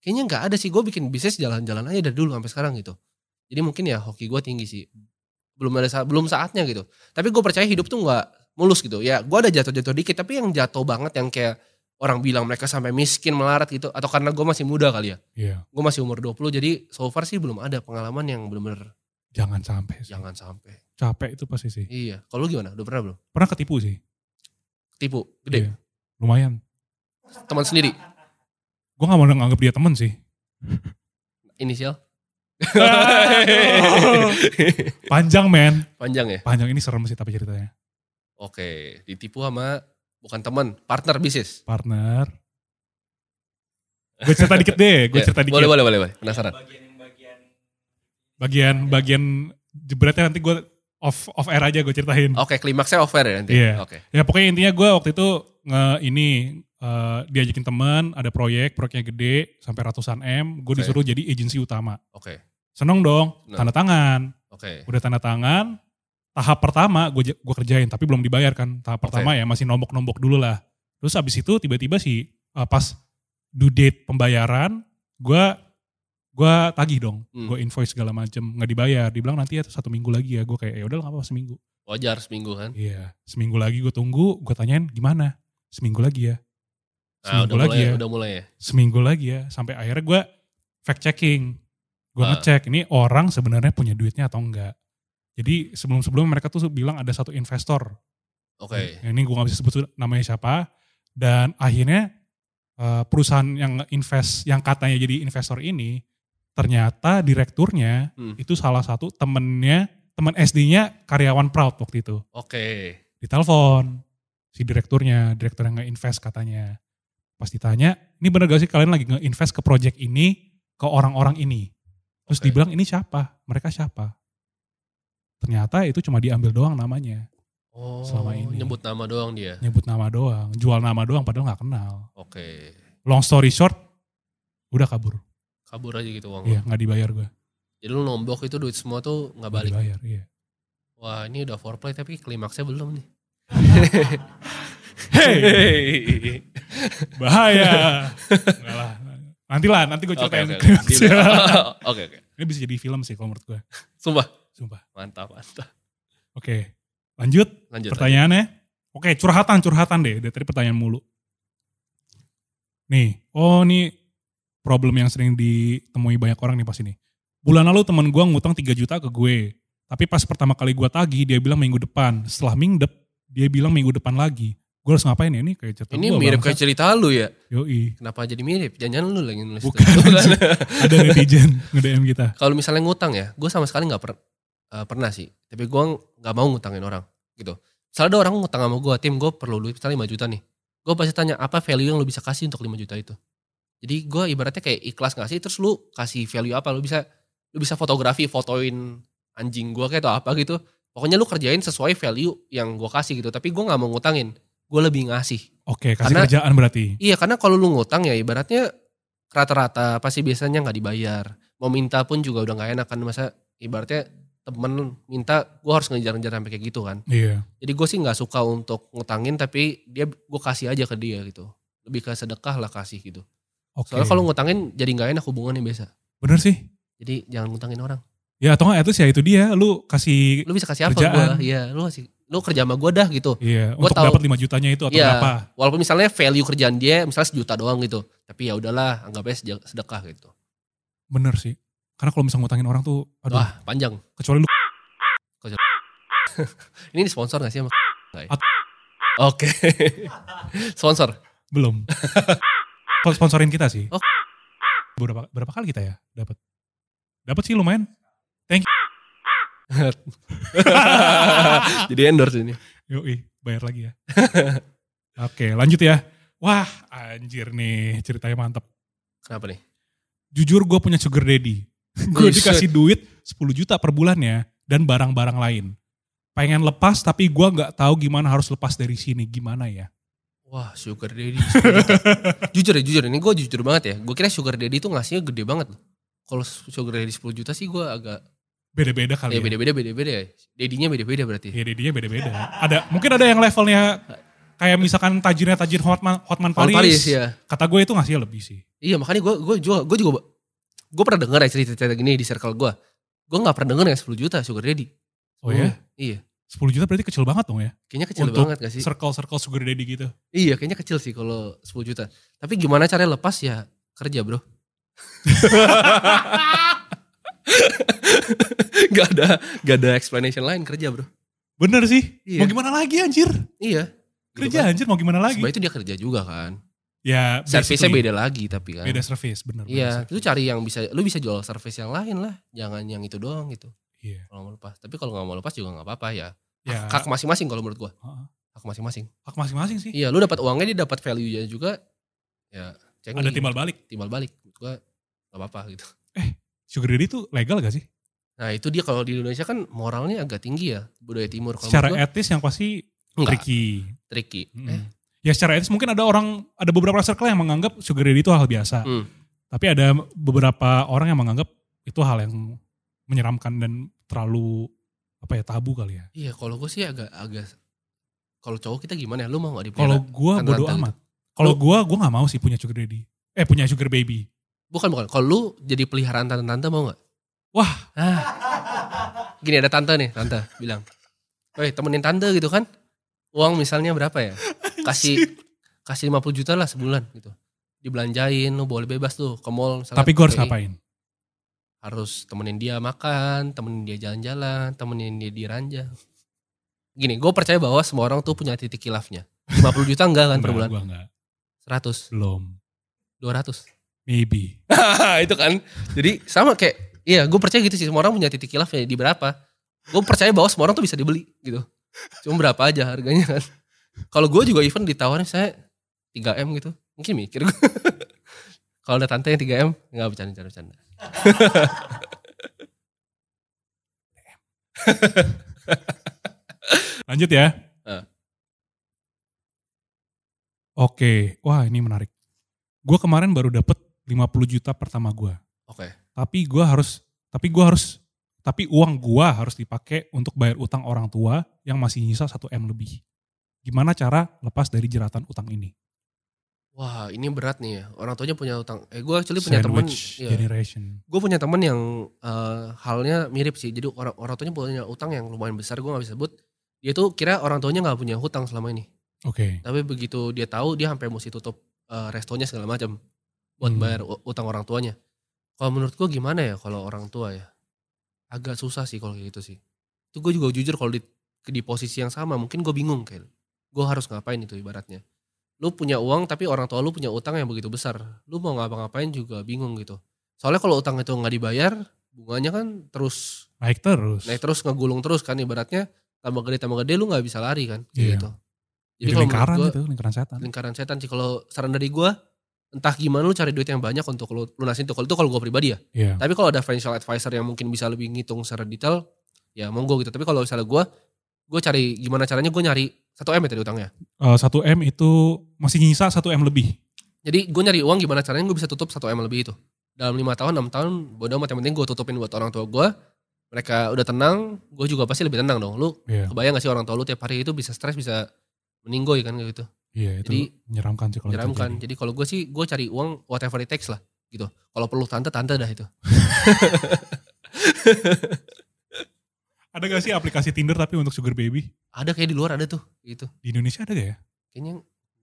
Speaker 2: kayaknya nggak ada sih gue bikin bisnis jalan-jalan aja dari dulu sampai sekarang gitu jadi mungkin ya hoki gue tinggi sih belum ada sa- belum saatnya gitu tapi gue percaya hidup tuh nggak mulus gitu ya gue ada jatuh-jatuh dikit tapi yang jatuh banget yang kayak orang bilang mereka sampai miskin melarat gitu atau karena gue masih muda kali ya
Speaker 1: Iya,
Speaker 2: gue masih umur 20 jadi so far sih belum ada pengalaman yang bener-bener
Speaker 1: jangan sampai sih.
Speaker 2: jangan sampai
Speaker 1: Capek itu pasti sih.
Speaker 2: iya kalau lu gimana udah pernah belum
Speaker 1: Pernah ketipu sih.
Speaker 2: tipu gede
Speaker 1: Iya. Lumayan.
Speaker 2: teman sendiri
Speaker 1: Gue gak mau nganggap dia temen sih.
Speaker 2: inisial
Speaker 1: Aduh. Panjang men.
Speaker 2: panjang ya
Speaker 1: Panjang ini serem sih tapi ceritanya.
Speaker 2: Oke, ditipu sama bukan teman, partner bisnis.
Speaker 1: Partner. Gue cerita dikit deh. Gue
Speaker 2: Ya,
Speaker 1: cerita dikit.
Speaker 2: Boleh,
Speaker 1: Iya.
Speaker 2: boleh, boleh, boleh. Penasaran.
Speaker 1: Bagian bagian jebretnya nanti gue off off air aja gue ceritain.
Speaker 2: Oke, klimaksnya over ya nanti.
Speaker 1: Iya.
Speaker 2: Oke.
Speaker 1: Ya pokoknya intinya gue waktu itu nge ini eh, diajakin teman, ada proyek, proyeknya gede sampai ratusan M, gue
Speaker 2: Oke.
Speaker 1: disuruh jadi agensi utama.
Speaker 2: Oke.
Speaker 1: Seneng dong,
Speaker 2: Nah.
Speaker 1: tanda tangan.
Speaker 2: Oke.
Speaker 1: Udah tanda tangan, tahap pertama gue gue kerjain tapi belum dibayar kan. Tahap
Speaker 2: Oke.
Speaker 1: pertama ya masih nombok-nombok dulu lah. Terus abis itu tiba-tiba sih eh, pas due date pembayaran, gue gua tagih dong,
Speaker 2: Hmm.
Speaker 1: gue invoice segala macem nggak dibayar, dibilang nanti ya satu minggu lagi ya, gue kayak ya udah nggak apa-apa seminggu.
Speaker 2: Wajar seminggu kan.
Speaker 1: Iya, seminggu lagi gue tunggu, gue tanyain gimana? Seminggu lagi ya.
Speaker 2: Nah,
Speaker 1: Seminggu
Speaker 2: udah
Speaker 1: lagi
Speaker 2: mulai
Speaker 1: ya.
Speaker 2: udah mulai ya.
Speaker 1: Seminggu lagi ya, sampai akhirnya gue fact checking. Gue
Speaker 2: Ah.
Speaker 1: ngecek ini orang sebenarnya punya duitnya atau enggak. Jadi sebelum-sebelum mereka tuh bilang ada satu investor.
Speaker 2: Oke.
Speaker 1: Yang Ini gue gak bisa sebut namanya siapa. Dan akhirnya eh, perusahaan yang invest yang katanya jadi investor ini ternyata direkturnya
Speaker 2: Hmm.
Speaker 1: itu salah satu temennya, teman SD-nya karyawan Proud waktu itu
Speaker 2: Oke.
Speaker 1: ditelepon si direkturnya, direktur yang nge-invest katanya. Pas ditanya, ini bener gak sih kalian lagi nge-invest ke project ini ke orang-orang ini? Terus
Speaker 2: Oke.
Speaker 1: dibilang ini siapa? Mereka siapa? Ternyata itu cuma diambil doang namanya.
Speaker 2: Oh,
Speaker 1: Selama ini.
Speaker 2: nyebut nama doang dia.
Speaker 1: Nyebut nama doang, jual nama doang padahal gak kenal.
Speaker 2: Oke.
Speaker 1: Long story short, udah kabur.
Speaker 2: Kabur aja gitu uang.
Speaker 1: Iya,
Speaker 2: lo.
Speaker 1: gak dibayar gue.
Speaker 2: Jadi lu nombok itu duit semua tuh nggak
Speaker 1: Nggak
Speaker 2: balik.
Speaker 1: Dibayar, iya.
Speaker 2: Wah, ini udah foreplay tapi klimaksnya belum nih.
Speaker 1: Hey, bahaya. Enggak lah. Nantilah, nanti gue
Speaker 2: Oke,
Speaker 1: ceritain.
Speaker 2: oke, oke.
Speaker 1: ya.
Speaker 2: Oke, oke.
Speaker 1: Ini bisa jadi film sih kalau menurut gue.
Speaker 2: Sumpah,
Speaker 1: Sumpah.
Speaker 2: mantap, mantap.
Speaker 1: Oke, lanjut.
Speaker 2: Lanjut.
Speaker 1: Pertanyaannya, oke curhatan curhatan deh dari tadi pertanyaan mulu. Nih, oh nih problem yang sering ditemui banyak orang nih pas ini. Bulan lalu teman gua ngutang 3 juta ke gue, tapi pas pertama kali gua tagih dia bilang minggu depan. Setelah mingdep dia bilang minggu depan lagi. Gue harus ngapain ya ini kayak cerita
Speaker 2: Ini
Speaker 1: gua,
Speaker 2: mirip kayak
Speaker 1: bangsa.
Speaker 2: cerita lu ya.
Speaker 1: Yoi,
Speaker 2: Kenapa jadi mirip? Jangan-jangan lu lagi nulis.
Speaker 1: Bukan.
Speaker 2: itu. Bukan.
Speaker 1: ada netizen nge-DM kita.
Speaker 2: Kalau misalnya ngutang ya, gue sama sekali nggak per, eh, pernah sih. Tapi gue nggak mau ngutangin orang gitu. Misalnya ada orang ngutang sama gue, tim gue perlu duit misalnya 5 juta nih. Gue pasti tanya apa value yang lu bisa kasih untuk 5 juta itu. Jadi gue ibaratnya kayak ikhlas ngasih terus lu kasih value apa? Lu bisa lu bisa fotografi, fotoin anjing gue kayak atau apa gitu. Pokoknya lu kerjain sesuai value yang gue kasih gitu. Tapi gue nggak mau ngutangin. Gue lebih ngasih.
Speaker 1: Oke, kasih
Speaker 2: Karena-
Speaker 1: kerjaan berarti.
Speaker 2: Iya karena kalau lu ngutang ya ibaratnya rata-rata pasti biasanya nggak dibayar. Mau minta pun juga udah nggak enak kan masa ibaratnya temen minta gue harus ngejar-ngejar sampai kayak gitu kan.
Speaker 1: Iya.
Speaker 2: Jadi gue sih nggak suka untuk ngutangin tapi dia gue kasih aja ke dia gitu. Lebih ke sedekah lah kasih gitu.
Speaker 1: Oke.
Speaker 2: Soalnya kalau ngutangin jadi nggak enak hubungannya biasa.
Speaker 1: bener sih.
Speaker 2: Jadi jangan ngutangin orang.
Speaker 1: Ya atau nggak itu sih itu dia lu kasih
Speaker 2: Lu bisa kasih apa
Speaker 1: Kerjaan.
Speaker 2: gue? Iya lu kasih lu kerja sama gue dah gitu.
Speaker 1: Iya,
Speaker 2: Gua
Speaker 1: untuk
Speaker 2: tahu.
Speaker 1: dapat 5 jutanya itu atau
Speaker 2: Iya.
Speaker 1: berapa?
Speaker 2: Walaupun misalnya value kerjaan dia misalnya sejuta doang gitu. Tapi ya udahlah anggapnya seja- sedekah gitu.
Speaker 1: Bener sih. Karena kalau misalnya ngutangin orang tuh, aduh,
Speaker 2: Wah panjang.
Speaker 1: kecuali lu
Speaker 2: Ini di sponsor gak sih sama Nggak ya?
Speaker 1: At-
Speaker 2: Oke. sponsor.
Speaker 1: belum. Kalau sponsorin kita sih.
Speaker 2: Oh.
Speaker 1: Berapa berapa kali kita ya dapat? Dapat sih lumayan.
Speaker 2: Jadi endorse ini.
Speaker 1: Yoi, bayar lagi ya. Oke, lanjut ya. Wah, anjir nih ceritanya mantap.
Speaker 2: Kenapa nih?
Speaker 1: Jujur gue punya sugar daddy. gue
Speaker 2: Wih,
Speaker 1: dikasih duit 10 juta per bulannya dan barang-barang lain. Pengen lepas tapi gue nggak tahu gimana harus lepas dari sini. Gimana ya?
Speaker 2: Wah sugar daddy. sugar daddy. jujur ya jujur. Ini gue jujur banget ya. Gue kira sugar daddy itu ngasihnya gede banget loh. Kalau sugar daddy 10 juta sih gue agak.
Speaker 1: Beda-beda kali
Speaker 2: Ya beda-beda beda-beda ya. Dedinya beda-beda berarti.
Speaker 1: Iya dedinya beda-beda. Ada mungkin ada yang levelnya kayak misalkan tajirnya tajir Hotman Hotman
Speaker 2: Orang
Speaker 1: Paris.
Speaker 2: Paris ya.
Speaker 1: Kata gue itu ngasih lebih sih.
Speaker 2: Iya makanya gue gue juga gue juga gue pernah dengar ya cerita-cerita gini di circle gue. Gue nggak pernah dengar yang 10 juta sugar daddy.
Speaker 1: Oh ya?
Speaker 2: Iya.
Speaker 1: 10 juta berarti kecil banget dong ya.
Speaker 2: Kayaknya kecil
Speaker 1: Untuk
Speaker 2: banget gak sih?
Speaker 1: Circle-circle sugar daddy gitu.
Speaker 2: Iya kayaknya kecil sih kalau 10 juta. Tapi gimana caranya lepas ya kerja bro. gak ada gak ada explanation lain kerja bro.
Speaker 1: Bener sih.
Speaker 2: Iya.
Speaker 1: Mau gimana lagi anjir?
Speaker 2: Iya.
Speaker 1: Kerja anjir mau gimana lagi?
Speaker 2: Sebenarnya itu dia kerja juga kan.
Speaker 1: Ya
Speaker 2: Servisnya
Speaker 1: basically
Speaker 2: beda lagi tapi kan.
Speaker 1: Beda service bener.
Speaker 2: Iya,
Speaker 1: beda
Speaker 2: lu
Speaker 1: service.
Speaker 2: cari yang bisa, lu bisa jual service yang lain lah, jangan yang itu doang gitu.
Speaker 1: Iya.
Speaker 2: Kalau mau lepas, tapi kalau nggak mau lepas juga nggak apa-apa ya.
Speaker 1: Ya,
Speaker 2: Hak masing-masing kalau menurut gua.
Speaker 1: Heeh.
Speaker 2: Hak masing-masing.
Speaker 1: hak masing-masing sih.
Speaker 2: Iya, lu dapat uangnya dia dapat value-nya juga. Ya, cengeng
Speaker 1: Ada
Speaker 2: gitu.
Speaker 1: timbal balik.
Speaker 2: timbal balik menurut gua nggak apa-apa gitu
Speaker 1: Sugar daddy itu legal gak sih?
Speaker 2: nah itu dia kalau di Indonesia kan moralnya agak tinggi ya budaya timur kalau
Speaker 1: Secara
Speaker 2: menurut
Speaker 1: etis yang pasti
Speaker 2: gua, nggak,
Speaker 1: tricky.
Speaker 2: tricky
Speaker 1: Mm.
Speaker 2: eh,
Speaker 1: ya secara etis mungkin ada orang ada beberapa circle yang menganggap sugar daddy itu hal biasa
Speaker 2: Hmm.
Speaker 1: tapi ada beberapa orang yang menganggap itu hal yang menyeramkan dan terlalu apa ya tabu kali ya
Speaker 2: Iya, kalau gue sih agak agak kalau cowok kita gimana ya? Lu mau gak dipelihara?
Speaker 1: kalau gua
Speaker 2: kan
Speaker 1: bodo
Speaker 2: rantau
Speaker 1: amat kalau gua gua nggak mau sih punya sugar daddy eh punya sugar baby
Speaker 2: Bukan, bukan. Kalau lu jadi peliharaan tante-tante mau gak?
Speaker 1: Wah.
Speaker 2: Ah. Gini ada tante nih, tante bilang. Woi temenin tante gitu kan. Uang misalnya berapa ya? Kasih kasih 50 juta lah sebulan gitu. Dibelanjain, lu boleh bebas tuh ke mall. misalnya
Speaker 1: tapi gua harus
Speaker 2: KPI.
Speaker 1: ngapain
Speaker 2: harus temenin dia makan, temenin dia jalan-jalan, temenin dia di ranjang. Gini, gue percaya bahwa semua orang tuh punya titik kilafnya. 50 juta enggak kan per
Speaker 1: Enggak,
Speaker 2: bulan?
Speaker 1: gua enggak
Speaker 2: 100,
Speaker 1: belum
Speaker 2: 200.
Speaker 1: maybe
Speaker 2: itu kan. Jadi sama kayak, iya gue percaya gitu sih. Semua orang punya titik kilafnya di berapa. Gue percaya bahwa semua orang tuh bisa dibeli gitu. Cuma berapa aja harganya kan. Kalau gue juga even ditawarin saya 3M gitu. Mungkin mikir gue. Kalau ada tante yang 3M, enggak bercanda-bercanda.
Speaker 1: lanjut ya
Speaker 2: Eh.
Speaker 1: oke wah ini menarik gua kemarin baru dapet 50 juta pertama gua
Speaker 2: Oke.
Speaker 1: tapi gue harus tapi gua harus tapi uang gua harus dipakai untuk bayar utang orang tua yang masih nyisa 1 m lebih gimana cara lepas dari jeratan utang ini
Speaker 2: Wah ini berat nih ya. Orang tuanya punya utang. Eh gue actually punya temen.
Speaker 1: sandwich
Speaker 2: iya.
Speaker 1: generation
Speaker 2: Gue punya temen yang eh, halnya mirip sih. Jadi orang orang tuanya punya utang yang lumayan besar. Gue gak bisa sebut. Dia tuh kira orang tuanya gak punya hutang selama ini.
Speaker 1: oke
Speaker 2: Tapi begitu dia tahu dia sampai mesti tutup eh, restonya segala macam buat
Speaker 1: Hmm.
Speaker 2: bayar u- utang orang tuanya. Kalau menurut gue gimana ya kalau orang tua ya? Agak susah sih kalau kayak gitu sih. Itu gue juga jujur kalau di, ke- di posisi yang sama mungkin gue bingung kayak gue harus ngapain itu ibaratnya. Lu punya uang tapi orang tua lu punya utang yang begitu besar. Lu mau ngapa-ngapain juga bingung gitu. Soalnya kalau utang itu nggak dibayar, bunganya kan terus
Speaker 1: naik terus
Speaker 2: naik terus ngegulung terus kan ibaratnya tambah gede tambah gede lu nggak bisa lari kan kayak
Speaker 1: Iya.
Speaker 2: gitu.
Speaker 1: jadi,
Speaker 2: kalau menurut
Speaker 1: lingkaran ya.
Speaker 2: gua-
Speaker 1: itu lingkaran setan
Speaker 2: lingkaran setan sih kalau saran dari gue entah gimana lu cari duit yang banyak untuk lu lunasin itu kalau itu kalau gue pribadi ya
Speaker 1: Iya.
Speaker 2: tapi kalau ada financial advisor yang mungkin bisa lebih ngitung secara detail ya monggo gitu tapi kalau misalnya gue gue cari gimana caranya gue nyari satu m ya tadi utangnya
Speaker 1: Eh, 1 m itu masih nyisa 1 m lebih
Speaker 2: jadi gue nyari uang gimana caranya gue bisa tutup satu m lebih itu dalam lima tahun enam tahun bodoh amat yang penting gue tutupin buat orang tua gue mereka udah tenang gue juga pasti lebih tenang dong lu
Speaker 1: Iya.
Speaker 2: kebayang gak sih orang tua lu tiap hari itu bisa stres bisa meninggoy kan kayak gitu
Speaker 1: iya itu
Speaker 2: Jadi,
Speaker 1: menyeramkan sih kalau gitu itu
Speaker 2: menyeramkan.
Speaker 1: terjadi.
Speaker 2: Jadi kalau gue sih gue cari uang whatever it takes lah gitu. Kalau perlu tante tante dah itu.
Speaker 1: ada gak sih aplikasi tinder tapi untuk sugar baby
Speaker 2: Ada kayak di luar ada tuh gitu.
Speaker 1: di Indonesia ada gak ya
Speaker 2: Kayaknya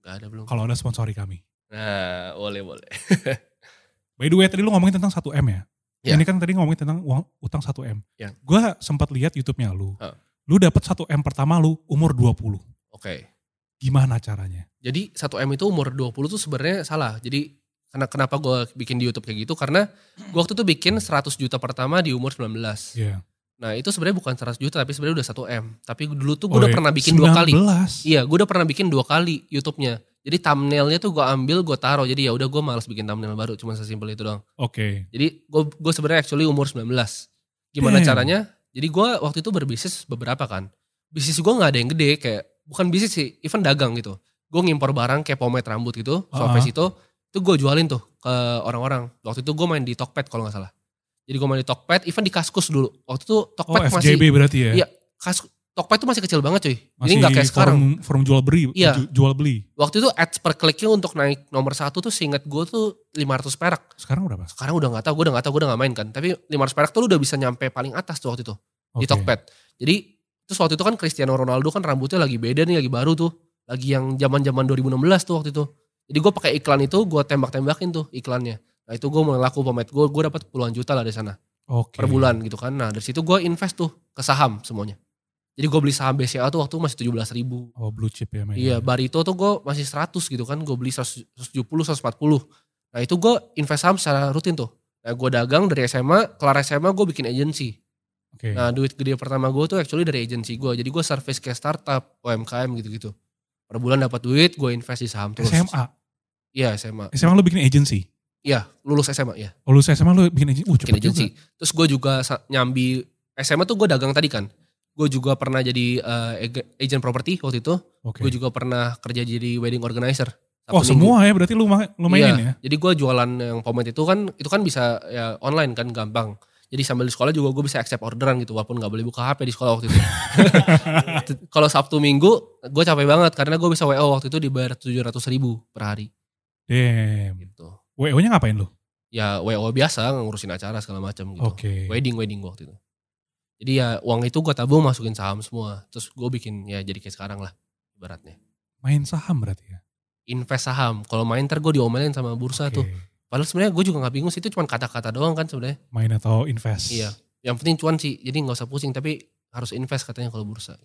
Speaker 2: nggak ada belum.
Speaker 1: kalau ada sponsori kami
Speaker 2: Nah boleh boleh.
Speaker 1: By the way tadi lu ngomongin tentang 1M ya.
Speaker 2: Iya.
Speaker 1: Ini kan tadi ngomongin tentang uang utang 1M.
Speaker 2: Iya.
Speaker 1: Gue sempat lihat YouTube-nya lu.
Speaker 2: Heeh.
Speaker 1: Lu dapat 1M pertama lu umur 20.
Speaker 2: Oke.
Speaker 1: Gimana caranya?
Speaker 2: Jadi 1 m itu umur 20 tuh sebenarnya salah. Jadi karena kenapa gue bikin di YouTube kayak gitu karena gue waktu itu bikin 100 juta pertama di umur 19.
Speaker 1: Iya.
Speaker 2: Nah itu sebenarnya bukan 100 juta tapi sebenarnya udah 1 m. Tapi dulu tuh gue
Speaker 1: Oh,
Speaker 2: udah
Speaker 1: iya.
Speaker 2: pernah bikin dua kali.
Speaker 1: 19.
Speaker 2: Iya, gue udah pernah bikin dua kali YouTube-nya. Jadi thumbnailnya tuh gue ambil, gue taruh. Jadi ya udah gue males bikin thumbnail baru, cuma sesimpel itu doang.
Speaker 1: Oke.
Speaker 2: Jadi gue gue sebenarnya actually umur 19. Gimana
Speaker 1: Damn.
Speaker 2: caranya? Jadi gue waktu itu berbisnis beberapa kan. Bisnis gue nggak ada yang gede kayak bukan bisnis sih, even dagang gitu. Gue ngimpor barang kayak pomade rambut gitu,
Speaker 1: Ah.
Speaker 2: Solves itu. Itu gue jualin tuh ke orang-orang. Waktu itu gue main di Tokped kalau nggak salah. Jadi gue main di Tokped, even di Kaskus dulu. Waktu itu
Speaker 1: Oh,
Speaker 2: Tokped masih
Speaker 1: FJB berarti ya.
Speaker 2: Iya, Kaskus, Tokped tuh masih kecil banget cuy. Jadi
Speaker 1: Masih
Speaker 2: nggak kayak sekarang.
Speaker 1: forum, forum jual beli, eh,
Speaker 2: Iya.
Speaker 1: ju- jual beli.
Speaker 2: Waktu itu ads per kliknya untuk naik nomor satu tuh seingat gue tuh 500 perak
Speaker 1: Sekarang berapa?
Speaker 2: sekarang udah nggak tahu gue udah nggak tahu gue udah nggak main kan tapi 500 perak tuh lu udah bisa nyampe paling atas tuh waktu itu
Speaker 1: Oke.
Speaker 2: di Tokped jadi terus waktu itu kan Cristiano Ronaldo kan rambutnya lagi beda nih lagi baru tuh lagi yang zaman zaman 2016 tuh waktu itu jadi gue pakai iklan itu gue tembak tembakin tuh iklannya nah itu gue mulai laku pemain gue gue dapat puluhan juta lah dari sana
Speaker 1: Oke.
Speaker 2: per bulan gitu kan nah dari situ gue invest tuh ke saham semuanya jadi gue beli saham BCA tuh waktu masih 17.000 ribu
Speaker 1: Oh, blue chip ya mainnya.
Speaker 2: Iya, Barito tuh gue masih 100 gitu kan, gue beli 170, 140. Nah itu gue invest saham secara rutin tuh. Nah gue dagang dari SMA, kelar SMA gue bikin agency.
Speaker 1: Oke.
Speaker 2: Nah duit gede pertama gue tuh actually dari agency gue. Jadi gue service kayak startup, UMKM gitu-gitu. Per bulan dapat duit, gue invest di saham terus.
Speaker 1: SMA.
Speaker 2: Iya SMA.
Speaker 1: SMA lu bikin agency.
Speaker 2: Iya, lulus SMA ya.
Speaker 1: Oh, lu SMA lu bikin agency. Uh,
Speaker 2: Bikin
Speaker 1: cepet juga.
Speaker 2: agency. Terus gue juga sa- nyambi, SMA tuh gue dagang tadi kan. Gue juga pernah jadi eh, ag- agent property waktu itu.
Speaker 1: Oke.
Speaker 2: Gue juga pernah kerja jadi wedding organizer. Sabtu
Speaker 1: Oh
Speaker 2: Minggu.
Speaker 1: semua ya berarti lu, ma- lu mainin
Speaker 2: Iya,
Speaker 1: ya?
Speaker 2: Jadi gue jualan yang pomade itu kan itu kan bisa ya, online kan gampang. Jadi sambil di sekolah juga gue bisa accept orderan gitu walaupun nggak boleh buka HP di sekolah waktu itu. Kalau Sabtu Minggu gue capek banget karena gue bisa WO waktu itu dibayar 700 ribu per hari
Speaker 1: Damn.
Speaker 2: gitu.
Speaker 1: WO-nya ngapain lu?
Speaker 2: Ya WO biasa ngurusin acara segala macam gitu.
Speaker 1: Oke.
Speaker 2: Wedding wedding gua waktu itu. Jadi ya uang itu gue tabung masukin saham semua. Terus gue bikin ya jadi kayak sekarang lah ibaratnya.
Speaker 1: Main saham berarti ya?
Speaker 2: Invest saham. Kalau main ntar gue diomelin sama bursa tuh.
Speaker 1: Oke.
Speaker 2: Padahal sebenarnya gue juga nggak bingung sih itu cuma kata-kata doang kan sebenarnya.
Speaker 1: Main atau invest?
Speaker 2: Iya. Yang penting cuan sih. Jadi nggak usah pusing tapi harus invest katanya kalau bursa.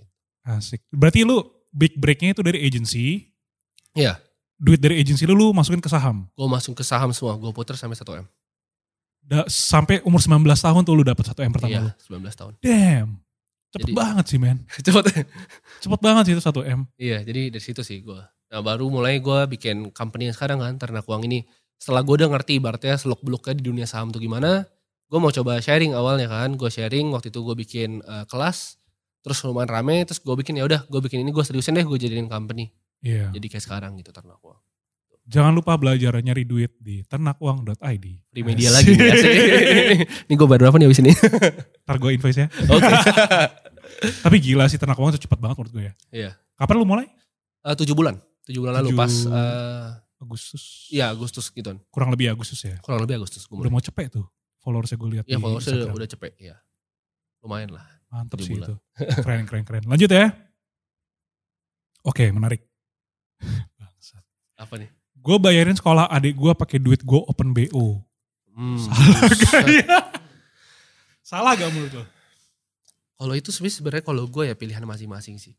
Speaker 1: Asik. Berarti lu big breaknya itu dari agency.
Speaker 2: Iya.
Speaker 1: Duit dari agency lu, lu masukin ke saham.
Speaker 2: Gue masuk ke saham semua. Gue puter sampai 1 M.
Speaker 1: Da- sampai umur 19 tahun tuh lu dapat 1 M pertama lu.
Speaker 2: Iya, 19 tahun.
Speaker 1: Damn. Cepet
Speaker 2: Jadi-
Speaker 1: banget sih men.
Speaker 2: Cepet.
Speaker 1: Cepet banget sih itu 1 M.
Speaker 2: iya, jadi dari situ sih gue. Nah baru mulai gue bikin company yang sekarang kan, Ternak Uang ini. Setelah gue udah ngerti ibaratnya seluk-beluknya di dunia saham tuh gimana, gue mau coba sharing awalnya kan. Gue sharing, waktu itu gue bikin eh, kelas, terus lumayan rame, terus gue bikin ya udah gue bikin ini gue seriusin deh gue jadiin company.
Speaker 1: Iya.
Speaker 2: Jadi kayak sekarang gitu Ternak Uang.
Speaker 1: Jangan lupa belajar nyari duit di ternakuang.id.
Speaker 2: Free media lagi Iya nih asik. Ini gue baru apa nih abis ini?
Speaker 1: Ntar gue invoice ya.
Speaker 2: Oke.
Speaker 1: Tapi gila sih ternak uang itu cepet banget menurut gue ya.
Speaker 2: Iya.
Speaker 1: Kapan lu mulai?
Speaker 2: Eh, tujuh bulan tujuh bulan lalu
Speaker 1: Tujuh-
Speaker 2: pas eh,
Speaker 1: Agustus.
Speaker 2: ya Agustus gitu
Speaker 1: Kurang lebih Agustus ya.
Speaker 2: kurang lebih Agustus gue
Speaker 1: Udah
Speaker 2: mulai.
Speaker 1: mau cepet tuh. Followersnya gue lihat
Speaker 2: ya
Speaker 1: di
Speaker 2: followersnya udah,
Speaker 1: Instagram.
Speaker 2: udah cepet ya lumayan lah
Speaker 1: Mantep
Speaker 2: tujuh
Speaker 1: sih
Speaker 2: bulan.
Speaker 1: itu. Keren, keren, keren. Lanjut ya. Oke, menarik.
Speaker 2: apa nih
Speaker 1: gue bayarin sekolah adik gue pakai duit gue open BO.
Speaker 2: hmm.
Speaker 1: iya. Salah gak menurut lo?
Speaker 2: kalau itu sebenarnya sebenarnya kalau gue ya pilihan masing-masing sih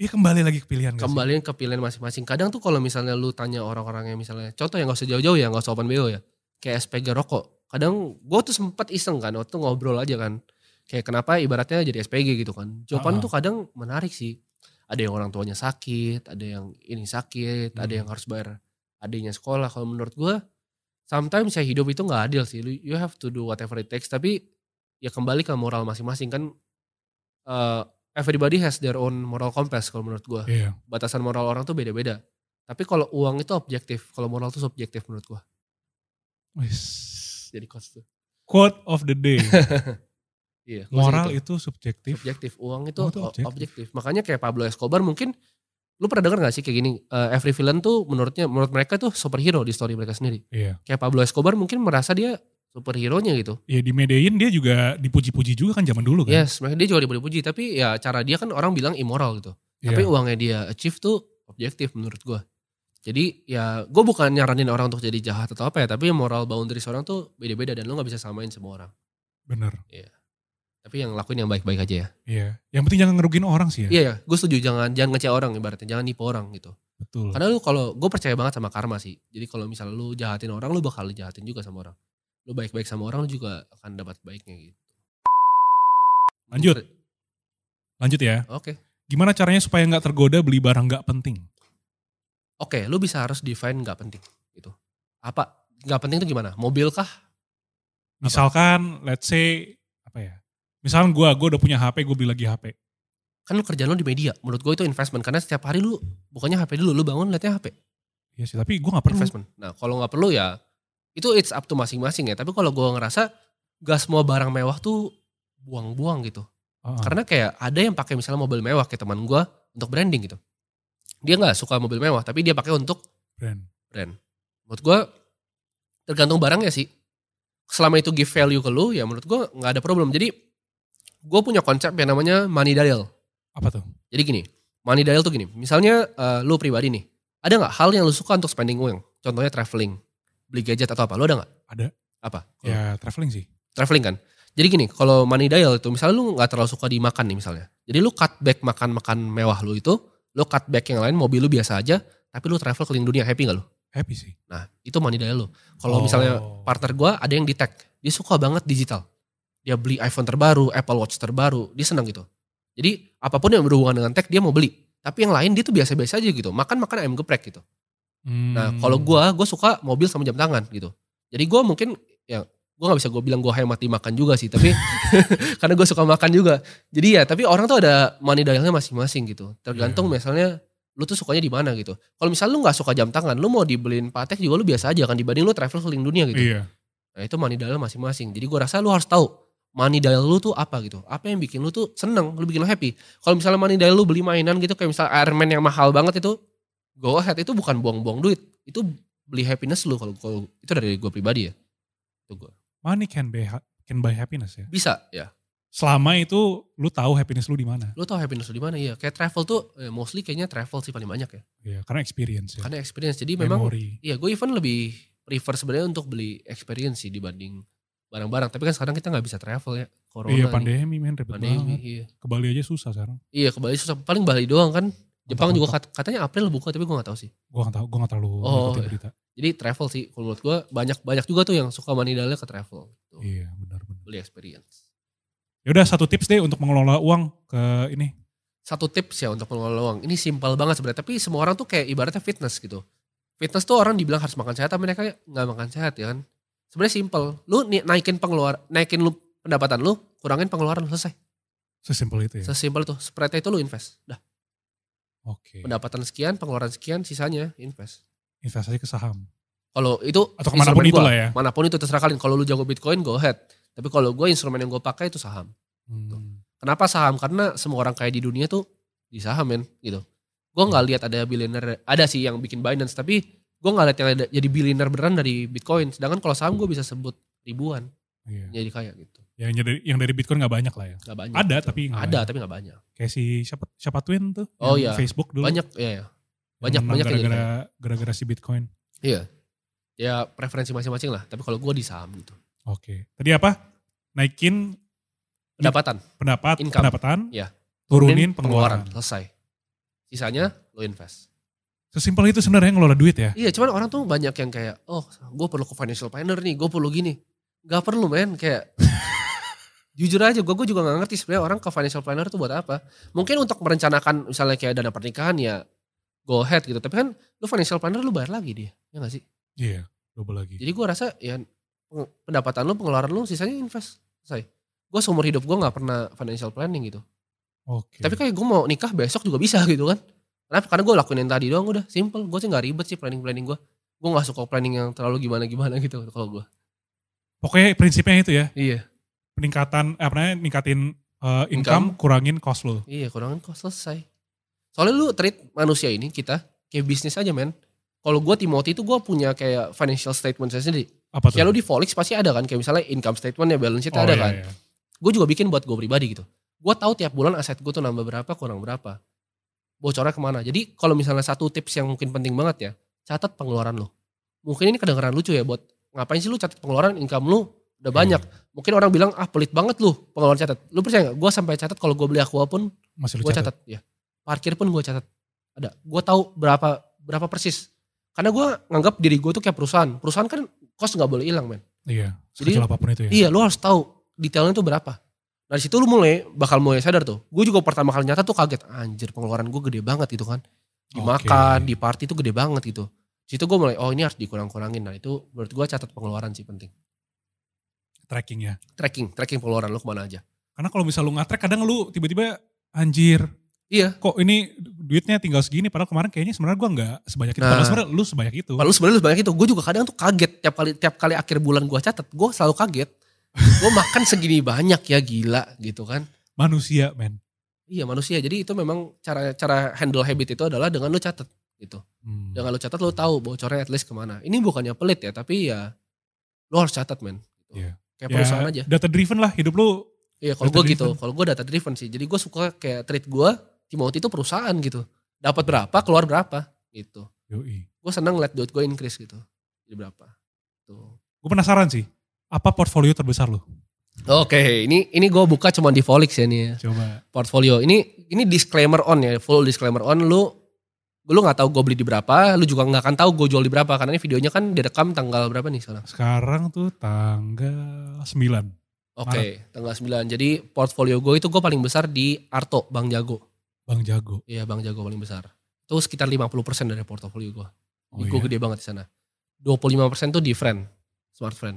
Speaker 1: Iya kembali lagi ke pilihan gak sih?
Speaker 2: kembaliin ke pilihan masing-masing kadang tuh kalau misalnya lu tanya orang-orang yang misalnya contoh yang gak usah jauh-jauh ya gak usah open BO ya kayak SPG rokok kadang gue tuh sempet iseng kan waktu itu ngobrol aja kan kayak kenapa ibaratnya jadi SPG gitu kan jawaban
Speaker 1: Ah.
Speaker 2: tuh kadang menarik sih ada yang orang tuanya sakit ada yang ini sakit ada
Speaker 1: Hmm.
Speaker 2: yang harus bayar adanya sekolah kalau menurut gue sometimes ya hidup itu nggak adil sih Lu- you have to do whatever it takes tapi ya kembali ke moral masing-masing kan eh, everybody has their own moral compass kalau menurut gue
Speaker 1: Iya.
Speaker 2: batasan moral orang tuh beda-beda. Tapi kalau uang itu objektif, kalau moral tuh subjektif menurut gua.
Speaker 1: Wis.
Speaker 2: Jadi cost tuh.
Speaker 1: Quote of the day.
Speaker 2: Iya. gua sih
Speaker 1: Moral
Speaker 2: gitu.
Speaker 1: itu subjektif.
Speaker 2: subjektif, uang itu,
Speaker 1: Uang itu
Speaker 2: o-
Speaker 1: objektif.
Speaker 2: objektif. Makanya kayak Pablo Escobar mungkin lu pernah denger gak sih kayak gini, eh, every villain tuh menurutnya menurut mereka tuh superhero di story mereka sendiri.
Speaker 1: Iya.
Speaker 2: Kayak Pablo Escobar mungkin merasa dia superhero-nya gitu.
Speaker 1: Ya di Medellin dia juga dipuji-puji juga kan zaman dulu kan.
Speaker 2: Yes, mereka dia juga dipuji-puji, tapi ya cara dia kan orang bilang immoral gitu.
Speaker 1: Iya.
Speaker 2: Tapi uangnya dia achieve tuh objektif menurut gua. Jadi ya gue bukan nyaranin orang untuk jadi jahat atau apa ya. Tapi moral boundary seorang tuh beda-beda dan lo gak bisa samain semua orang.
Speaker 1: Bener.
Speaker 2: Tapi yang lakuin yang baik-baik aja ya.
Speaker 1: Iya. Yang penting jangan ngerugiin orang sih ya.
Speaker 2: Iya ya, gue setuju jangan jangan ngecek orang ibaratnya, jangan nipu orang gitu.
Speaker 1: Betul.
Speaker 2: Karena lu kalau gue percaya banget sama karma sih. Jadi kalau misalnya lu jahatin orang, lu bakal dijahatin juga sama orang. Lu baik-baik sama orang, lu juga akan dapat baiknya gitu.
Speaker 1: Lanjut. Lanjut ya.
Speaker 2: Oke.
Speaker 1: Gimana caranya supaya nggak tergoda beli barang nggak penting?
Speaker 2: Oke, lu bisa harus define nggak penting gitu. Apa? Nggak penting itu gimana? Mobil kah?
Speaker 1: Misalkan, let's say apa ya? Misalkan gue, gue udah punya HP, gue beli lagi HP.
Speaker 2: Kan lu kerjaan lu di media. Menurut gue itu investment karena setiap hari lu bukannya HP dulu, lu bangun liatnya HP.
Speaker 1: Iya sih, tapi gue nggak perlu.
Speaker 2: Investment. Nah, kalau nggak perlu ya itu it's up to masing-masing ya. Tapi kalau gue ngerasa gak semua barang mewah tuh buang-buang gitu.
Speaker 1: Heeh.
Speaker 2: Karena kayak ada yang pakai misalnya mobil mewah kayak teman gue untuk branding gitu. Dia nggak suka mobil mewah, tapi dia pakai untuk
Speaker 1: Brand.
Speaker 2: brand. Menurut gue tergantung barangnya sih. Selama itu give value ke lu, ya menurut gue nggak ada problem. Jadi gue punya konsep yang namanya money dial.
Speaker 1: Apa tuh?
Speaker 2: Jadi gini, money dial tuh gini. Misalnya eh, lu pribadi nih, ada nggak hal yang lu suka untuk spending uang? Contohnya traveling, beli gadget atau apa? Lu ada nggak?
Speaker 1: Ada.
Speaker 2: Apa? Kalau
Speaker 1: Ya traveling sih.
Speaker 2: Traveling kan. Jadi gini, kalau money dial itu misalnya lu nggak terlalu suka dimakan nih misalnya. Jadi lu cut back makan-makan mewah lu itu, lu cut back yang lain mobil lu biasa aja, tapi lu travel keliling dunia happy gak lu?
Speaker 1: Happy sih.
Speaker 2: Nah, itu money dial lu.
Speaker 1: Oh.
Speaker 2: Kalau misalnya partner gua ada yang di tech, dia suka banget digital. Dia beli iPhone terbaru, Apple Watch terbaru, dia senang gitu. Jadi apapun yang berhubungan dengan tech dia mau beli. Tapi yang lain dia tuh biasa-biasa aja gitu, makan-makan ayam geprek gitu.
Speaker 1: Hmm.
Speaker 2: Nah kalau gua, gue suka mobil sama jam tangan gitu. Jadi gua mungkin ya gue nggak bisa gue bilang gue hemat di makan juga sih tapi karena gue suka makan juga jadi ya tapi orang tuh ada money dialnya masing-masing gitu tergantung misalnya lu tuh sukanya di mana gitu kalau misalnya lu nggak suka jam tangan lu mau dibeliin patek juga lu biasa aja kan dibanding lu travel keliling dunia gitu
Speaker 1: Iya.
Speaker 2: Nah itu money dial masing-masing. Jadi gue rasa lu harus tahu money dial lu tuh apa gitu. Apa yang bikin lu tuh seneng, lu bikin lu happy. Kalau misalnya money dial lu beli mainan gitu kayak misalnya Iron Man yang mahal banget itu. Go ahead itu bukan buang-buang duit. Itu beli happiness lu kalau kalau- itu dari gue pribadi ya. Itu gua.
Speaker 1: Money can buy ha- can buy happiness ya.
Speaker 2: Bisa ya.
Speaker 1: Selama itu lu tahu happiness lu di mana.
Speaker 2: Lu tau happiness lu di mana ya. Kayak travel tuh eh, mostly kayaknya travel sih paling banyak ya.
Speaker 1: Iya, karena experience ya.
Speaker 2: Karena experience. Jadi Kan memang
Speaker 1: Memori.
Speaker 2: iya gue even lebih prefer sebenarnya untuk beli experience sih dibanding barang-barang. Tapi kan sekarang kita nggak bisa travel ya. Corona
Speaker 1: Iya,
Speaker 2: nih,
Speaker 1: pandemi men repot
Speaker 2: pandemi.
Speaker 1: banget.
Speaker 2: Iya.
Speaker 1: Ke Bali aja susah sekarang.
Speaker 2: Iya ke Bali susah. Paling Bali doang kan. Jepang juga
Speaker 1: Mentok-mentok.
Speaker 2: kat- katanya April buka tapi gue gak tahu sih.
Speaker 1: Gua gak tahu, gua gak terlalu
Speaker 2: Oh,
Speaker 1: ngikutin
Speaker 2: iya.
Speaker 1: berita.
Speaker 2: Jadi travel sih kalau menurut gue banyak-banyak juga tuh yang suka manidalnya ke travel. Tuh,
Speaker 1: Iya, benar benar.
Speaker 2: Beli experience.
Speaker 1: Ya udah satu tips deh untuk mengelola uang ke ini.
Speaker 2: Satu tips ya untuk mengelola uang. Ini simpel banget sebenarnya. Tapi semua orang tuh kayak ibaratnya fitness gitu. Fitness tuh orang dibilang harus makan sehat tapi mereka gak makan sehat ya kan. Sebenarnya simpel. Lu ni- naikin pengeluaran, naikin lu pendapatan lu, kurangin pengeluaran lu, selesai.
Speaker 1: Sesimpel itu ya.
Speaker 2: Sesimpel tuh. Spreadnya itu lu invest. Dah,
Speaker 1: Oke.
Speaker 2: pendapatan sekian, pengeluaran sekian, sisanya invest.
Speaker 1: Investasi ke saham.
Speaker 2: Kalau itu
Speaker 1: Atau kemanapun
Speaker 2: instrumen gua.
Speaker 1: itulah ya.
Speaker 2: manapun itu terserah kalian. Kalau lu jago Bitcoin, go ahead. Tapi kalau gue instrumen yang gue pakai itu saham.
Speaker 1: Hmm.
Speaker 2: Kenapa saham? Karena semua orang kaya di dunia tuh di saham men gitu. Gue nggak lihat ada billionaire, ada sih yang bikin Binance, tapi gue nggak lihat yang ada- jadi billionaire beneran dari Bitcoin. Sedangkan kalau saham gue bisa sebut ribuan
Speaker 1: Iya.
Speaker 2: jadi kaya gitu.
Speaker 1: Yang dari yang dari Bitcoin nggak banyak lah ya.
Speaker 2: Gak banyak.
Speaker 1: Ada,
Speaker 2: gitu.
Speaker 1: tapi nggak
Speaker 2: ada
Speaker 1: banyak.
Speaker 2: tapi nggak banyak.
Speaker 1: Kayak si siapa siapa Twin tuh.
Speaker 2: Oh,
Speaker 1: yang
Speaker 2: iya.
Speaker 1: Facebook dulu.
Speaker 2: Banyak ya, ya.
Speaker 1: Yang
Speaker 2: banyak-
Speaker 1: menang
Speaker 2: banyak yang jadi
Speaker 1: gara-gara gara-gara si Bitcoin.
Speaker 2: Ya preferensi masing-masing lah. Tapi kalau gue di saham gitu.
Speaker 1: Oke. Tadi apa? Naikin
Speaker 2: Pendapatan,
Speaker 1: pendapat
Speaker 2: Income.
Speaker 1: pendapatan.
Speaker 2: Iya.
Speaker 1: Turunin
Speaker 2: Kemudian
Speaker 1: pengeluaran.
Speaker 2: selesai. Sisanya lo invest.
Speaker 1: Sesimpel itu sebenarnya ngelola duit ya.
Speaker 2: Iya cuman orang tuh banyak yang kayak oh gue perlu ke financial planner nih gue perlu gini. Gak perlu men kayak jujur aja gue gue juga gak ngerti sebenarnya orang ke financial planner tuh buat apa. Mungkin untuk merencanakan misalnya kayak dana pernikahan ya go ahead gitu. Tapi kan lu financial planner lu bayar lagi dia ya gak sih.
Speaker 1: Iya. Double lagi.
Speaker 2: Jadi gue rasa ya peng- pendapatan lu pengeluaran lu sisanya invest selesai. Gue seumur hidup gue gak pernah financial planning gitu.
Speaker 1: Oke.
Speaker 2: Tapi kayak gue mau nikah besok juga bisa gitu kan. Kenapa? Karena gue lakuin yang tadi doang udah simple. Gue sih gak ribet sih planning-planning gue. Gue gak suka planning yang terlalu gimana-gimana gitu kalau gue.
Speaker 1: pokoknya prinsipnya itu ya.
Speaker 2: Iya.
Speaker 1: Peningkatan eh, apa namanya? Ningkatin eh, income, kurangin cost lo.
Speaker 2: Iya kurangin kok selesai. Soalnya lu treat manusia ini kita kayak bisnis aja men. Kalau gue Timothy itu gue punya kayak financial statement saya sendiri.
Speaker 1: Apa tuh?
Speaker 2: Kayak Ya lu di Forex pasti ada kan. Kayak misalnya income statement ya balance sheet
Speaker 1: Oh,
Speaker 2: ada
Speaker 1: iya,
Speaker 2: kan.
Speaker 1: iya.
Speaker 2: Gue juga bikin buat gue pribadi gitu. Gue tahu tiap bulan aset gue tuh nambah berapa kurang berapa. Bocornya kemana. Jadi kalau misalnya satu tips yang mungkin penting banget ya. Catat pengeluaran lo. Mungkin ini kedengeran lucu ya buat ngapain sih lu catat pengeluaran income lu
Speaker 1: Iya.
Speaker 2: udah banyak. Mungkin orang bilang ah pelit banget lu pengeluaran catat. Lu percaya nggak? Gue sampai catat kalau gue beli aqua pun
Speaker 1: Masih lu
Speaker 2: gue
Speaker 1: catat.
Speaker 2: catat ya parkir pun gue catat ada gue tahu berapa berapa persis karena gue nganggap diri gue tuh kayak perusahaan perusahaan kan kos nggak boleh hilang men
Speaker 1: Iya.
Speaker 2: Jadi-
Speaker 1: Sekecil apapun itu ya.
Speaker 2: iya lu harus tahu detailnya tuh berapa dari situ lu mulai bakal mulai sadar tuh gue juga pertama kali nyata tuh kaget anjir pengeluaran gue gede banget gitu kan dimakan
Speaker 1: Oke.
Speaker 2: di party tuh gede banget gitu situ gue mulai oh ini harus dikurang-kurangin nah itu menurut gue catat pengeluaran sih penting
Speaker 1: Tracking ya.
Speaker 2: tracking tracking pengeluaran lu kemana aja
Speaker 1: Karena kalau misal lu ngatrek kadang lu tiba-tiba anjir.
Speaker 2: Iya.
Speaker 1: Kok ini duitnya tinggal segini padahal kemarin kayaknya sebenarnya gua nggak sebanyak itu.
Speaker 2: Nah.
Speaker 1: Padahal sebenarnya lu sebanyak itu.
Speaker 2: Padahal lu sebenarnya lu banyak itu, gue juga kadang tuh kaget tiap kali tiap kali akhir bulan gue catat, gue selalu kaget. Gue makan segini banyak ya gila gitu kan.
Speaker 1: Manusia, men.
Speaker 2: Iya manusia, jadi itu memang cara cara handle habit itu adalah dengan lu catat gitu.
Speaker 1: Hmm.
Speaker 2: Dengan lu catat lu tahu bocornya at least kemana. Ini bukannya pelit ya, tapi ya lu harus catat men. Gitu.
Speaker 1: Iya.
Speaker 2: Kayak
Speaker 1: Ya,
Speaker 2: perusahaan aja.
Speaker 1: Data driven lah hidup lu.
Speaker 2: Iya kalau gue
Speaker 1: data
Speaker 2: gitu, kalau gue data driven sih. Jadi gue suka kayak treat gue Timothy itu perusahaan gitu. Dapat berapa, keluar berapa gitu.
Speaker 1: Yoi.
Speaker 2: Gue senang liat duit gue increase gitu. Jadi berapa. Tuh.
Speaker 1: Gue penasaran sih. Apa portfolio terbesar lu?
Speaker 2: Oke, ini ini gue buka cuma di Volix ya nih ya,
Speaker 1: Coba.
Speaker 2: portfolio. Ini ini disclaimer on ya, full disclaimer on. Lu lu nggak tahu gue beli di berapa, lu juga nggak akan tahu gue jual di berapa karena ini videonya kan direkam tanggal berapa nih sekarang.
Speaker 1: Sekarang tuh tanggal 9.
Speaker 2: Oke, tanggal 9. Jadi portfolio gue itu gue paling besar di Arto Bang Jago.
Speaker 1: Bang Jago.
Speaker 2: Iya, Bang Jago paling besar. Itu sekitar 50% dari portfolio gue.
Speaker 1: Oh
Speaker 2: gue
Speaker 1: iya.
Speaker 2: gede banget di sana. 25% tuh di Friend, Smart Friend.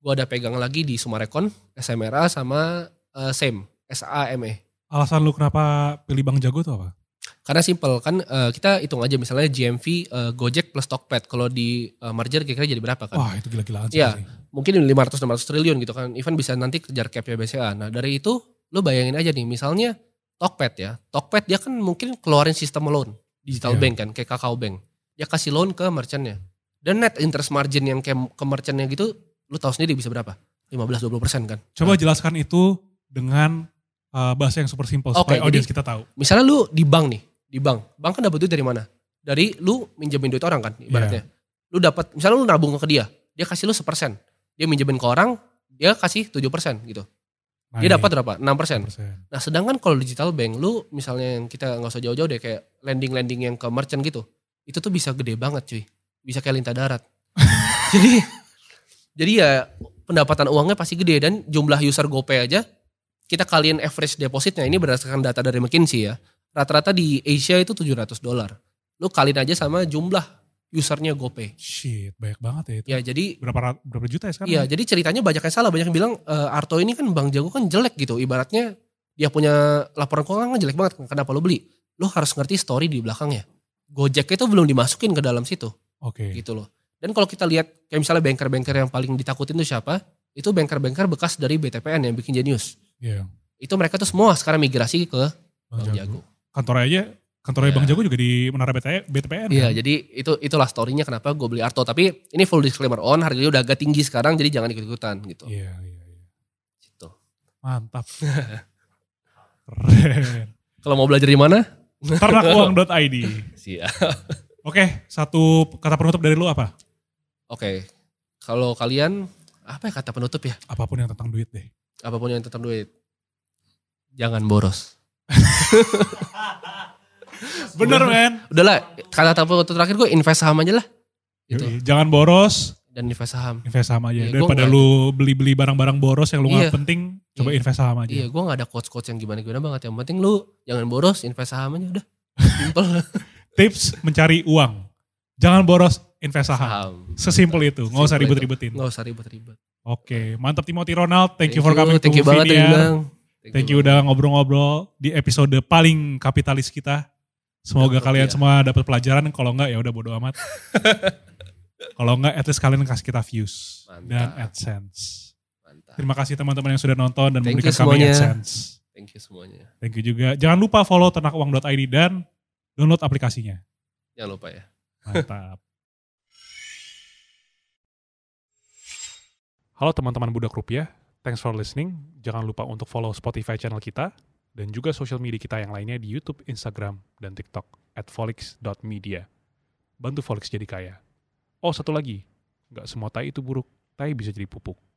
Speaker 2: Gue ada pegang lagi di Sumarekon, SMRA sama eh, SAME, S-A-M-E.
Speaker 1: Alasan lu kenapa pilih Bang Jago tuh apa?
Speaker 2: Karena simple kan eh, kita hitung aja misalnya GMV eh, Gojek plus Tokped kalau di eh, merger kira-kira jadi berapa kan?
Speaker 1: Wah itu gila-gilaan sih.
Speaker 2: Iya.
Speaker 1: pasti.
Speaker 2: Mungkin 500 600 triliun gitu kan. Even bisa nanti kejar capnya BCA. Nah, dari itu lu bayangin aja nih misalnya Tokped ya. Tokped dia kan mungkin keluarin sistem loan digital
Speaker 1: Iya.
Speaker 2: bank kan kayak Kakao Bank. Dia kasih loan ke merchantnya. Dan net interest margin yang ke, ke merchantnya gitu lu tahu sendiri bisa berapa? 15 20% kan.
Speaker 1: Coba jelaskan itu dengan uh, bahasa yang super simple
Speaker 2: Oke,
Speaker 1: supaya audiens kita tahu.
Speaker 2: misalnya lu di bank nih, di bank. Bank kan dapat duit dari mana? Dari lu minjemin duit orang kan ibaratnya. Lu dapat misalnya lu nabung ke dia, dia kasih lu sepersen. Dia minjemin ke orang, dia kasih 7% gitu.
Speaker 1: Nah,
Speaker 2: Dia
Speaker 1: ini,
Speaker 2: dapat berapa? 6%.
Speaker 1: 10%.
Speaker 2: Nah, sedangkan kalau digital bank lu misalnya yang kita nggak usah jauh-jauh deh kayak lending-lending yang ke merchant gitu. Itu tuh bisa gede banget, cuy. Bisa kayak lintah darat. jadi jadi ya pendapatan uangnya pasti gede dan jumlah user GoPay aja kita kalian average depositnya ini berdasarkan data dari McKinsey ya. Rata-rata di Asia itu 700 dolar. Lu kalian aja sama jumlah usernya GoPay.
Speaker 1: Shit banyak banget ya itu.
Speaker 2: Ya, jadi
Speaker 1: Berapa rat- berapa juta ya sekarang?
Speaker 2: Iya, jadi ceritanya banyak yang salah, banyak yang bilang e, Arto ini kan Bang Jago kan jelek gitu. Ibaratnya dia punya laporan keuangan kan jelek banget. Kenapa lo beli? Lo harus ngerti story di belakangnya. Gojek itu belum dimasukin ke dalam situ
Speaker 1: Oke.
Speaker 2: gitu loh. Dan kalau kita lihat kayak misalnya banker-banker yang paling ditakutin itu siapa? Itu banker-banker bekas dari BTPN yang bikin Genius.
Speaker 1: Iya.
Speaker 2: Itu mereka tuh semua sekarang migrasi ke
Speaker 1: Bang
Speaker 2: Bang
Speaker 1: Jago.
Speaker 2: Jago.
Speaker 1: Kantornya aja kantornya
Speaker 2: Iya.
Speaker 1: Bang Jago juga di Menara BT- BTPN.
Speaker 2: Iya,
Speaker 1: kan?
Speaker 2: jadi itu itulah storynya kenapa gue beli Arto. Tapi ini full disclaimer on, harganya udah agak tinggi sekarang, jadi jangan ikut-ikutan gitu.
Speaker 1: Iya, iya, iya.
Speaker 2: Gitu.
Speaker 1: Mantap. Keren.
Speaker 2: Kalau mau belajar di mana?
Speaker 1: Ternakuang.id.
Speaker 2: Sia.
Speaker 1: Oke, satu kata penutup dari lu apa?
Speaker 2: Oke, kalau kalian apa ya kata penutup ya?
Speaker 1: Apapun yang tentang duit deh.
Speaker 2: Apapun yang tentang duit, jangan boros.
Speaker 1: Bener men.
Speaker 2: Udahlah, kata-kata penutup terakhir gue invest saham aja lah. Gitu.
Speaker 1: Yoi, Jangan boros,
Speaker 2: Dan invest saham.
Speaker 1: invest saham aja.
Speaker 2: Iya, gua
Speaker 1: Daripada
Speaker 2: nggak-
Speaker 1: lu beli-beli barang-barang boros yang lu nggak
Speaker 2: Iya.
Speaker 1: penting, coba
Speaker 2: Iya.
Speaker 1: invest saham aja.
Speaker 2: Iya, gue nggak ada quotes-quotes yang gimana-gimana banget. Yang penting lu jangan boros, invest saham aja udah. Simple
Speaker 1: Tips mencari uang. Jangan boros, invest saham.
Speaker 2: saham.
Speaker 1: Sesimpel itu, nggak usah
Speaker 2: Simple
Speaker 1: ribet-ribetin.
Speaker 2: Nggak usah ribet-ribet.
Speaker 1: Oke, mantap Timothy Ronald. Thank, you for coming
Speaker 2: Thank
Speaker 1: to
Speaker 2: you banget
Speaker 1: Vinia.
Speaker 2: yang bilang.
Speaker 1: Thank you udah ngobrol-ngobrol di episode paling kapitalis kita. Semoga
Speaker 2: Dapat ya.
Speaker 1: kalian
Speaker 2: rupiah.
Speaker 1: semua dapat pelajaran. Kalau enggak ya udah bodo amat. Kalau enggak at least kalian kasih kita views dan
Speaker 2: Mantap.
Speaker 1: AdSense.
Speaker 2: Mantap.
Speaker 1: Terima kasih teman-teman yang sudah nonton dan
Speaker 2: Thank
Speaker 1: memberikan
Speaker 2: you
Speaker 1: kami
Speaker 2: semuanya.
Speaker 1: AdSense.
Speaker 2: Thank you semuanya.
Speaker 1: Thank you juga. Jangan lupa follow ternakuang.id dan download aplikasinya.
Speaker 2: Jangan lupa ya.
Speaker 1: Mantap. Halo teman-teman Budak Rupiah, thanks for listening. Jangan lupa untuk follow Spotify channel kita dan juga social media kita yang lainnya di YouTube, Instagram, dan TikTok at folix.media. Bantu Folix jadi kaya. Oh, satu lagi, nggak semua tai itu buruk, tai bisa jadi pupuk.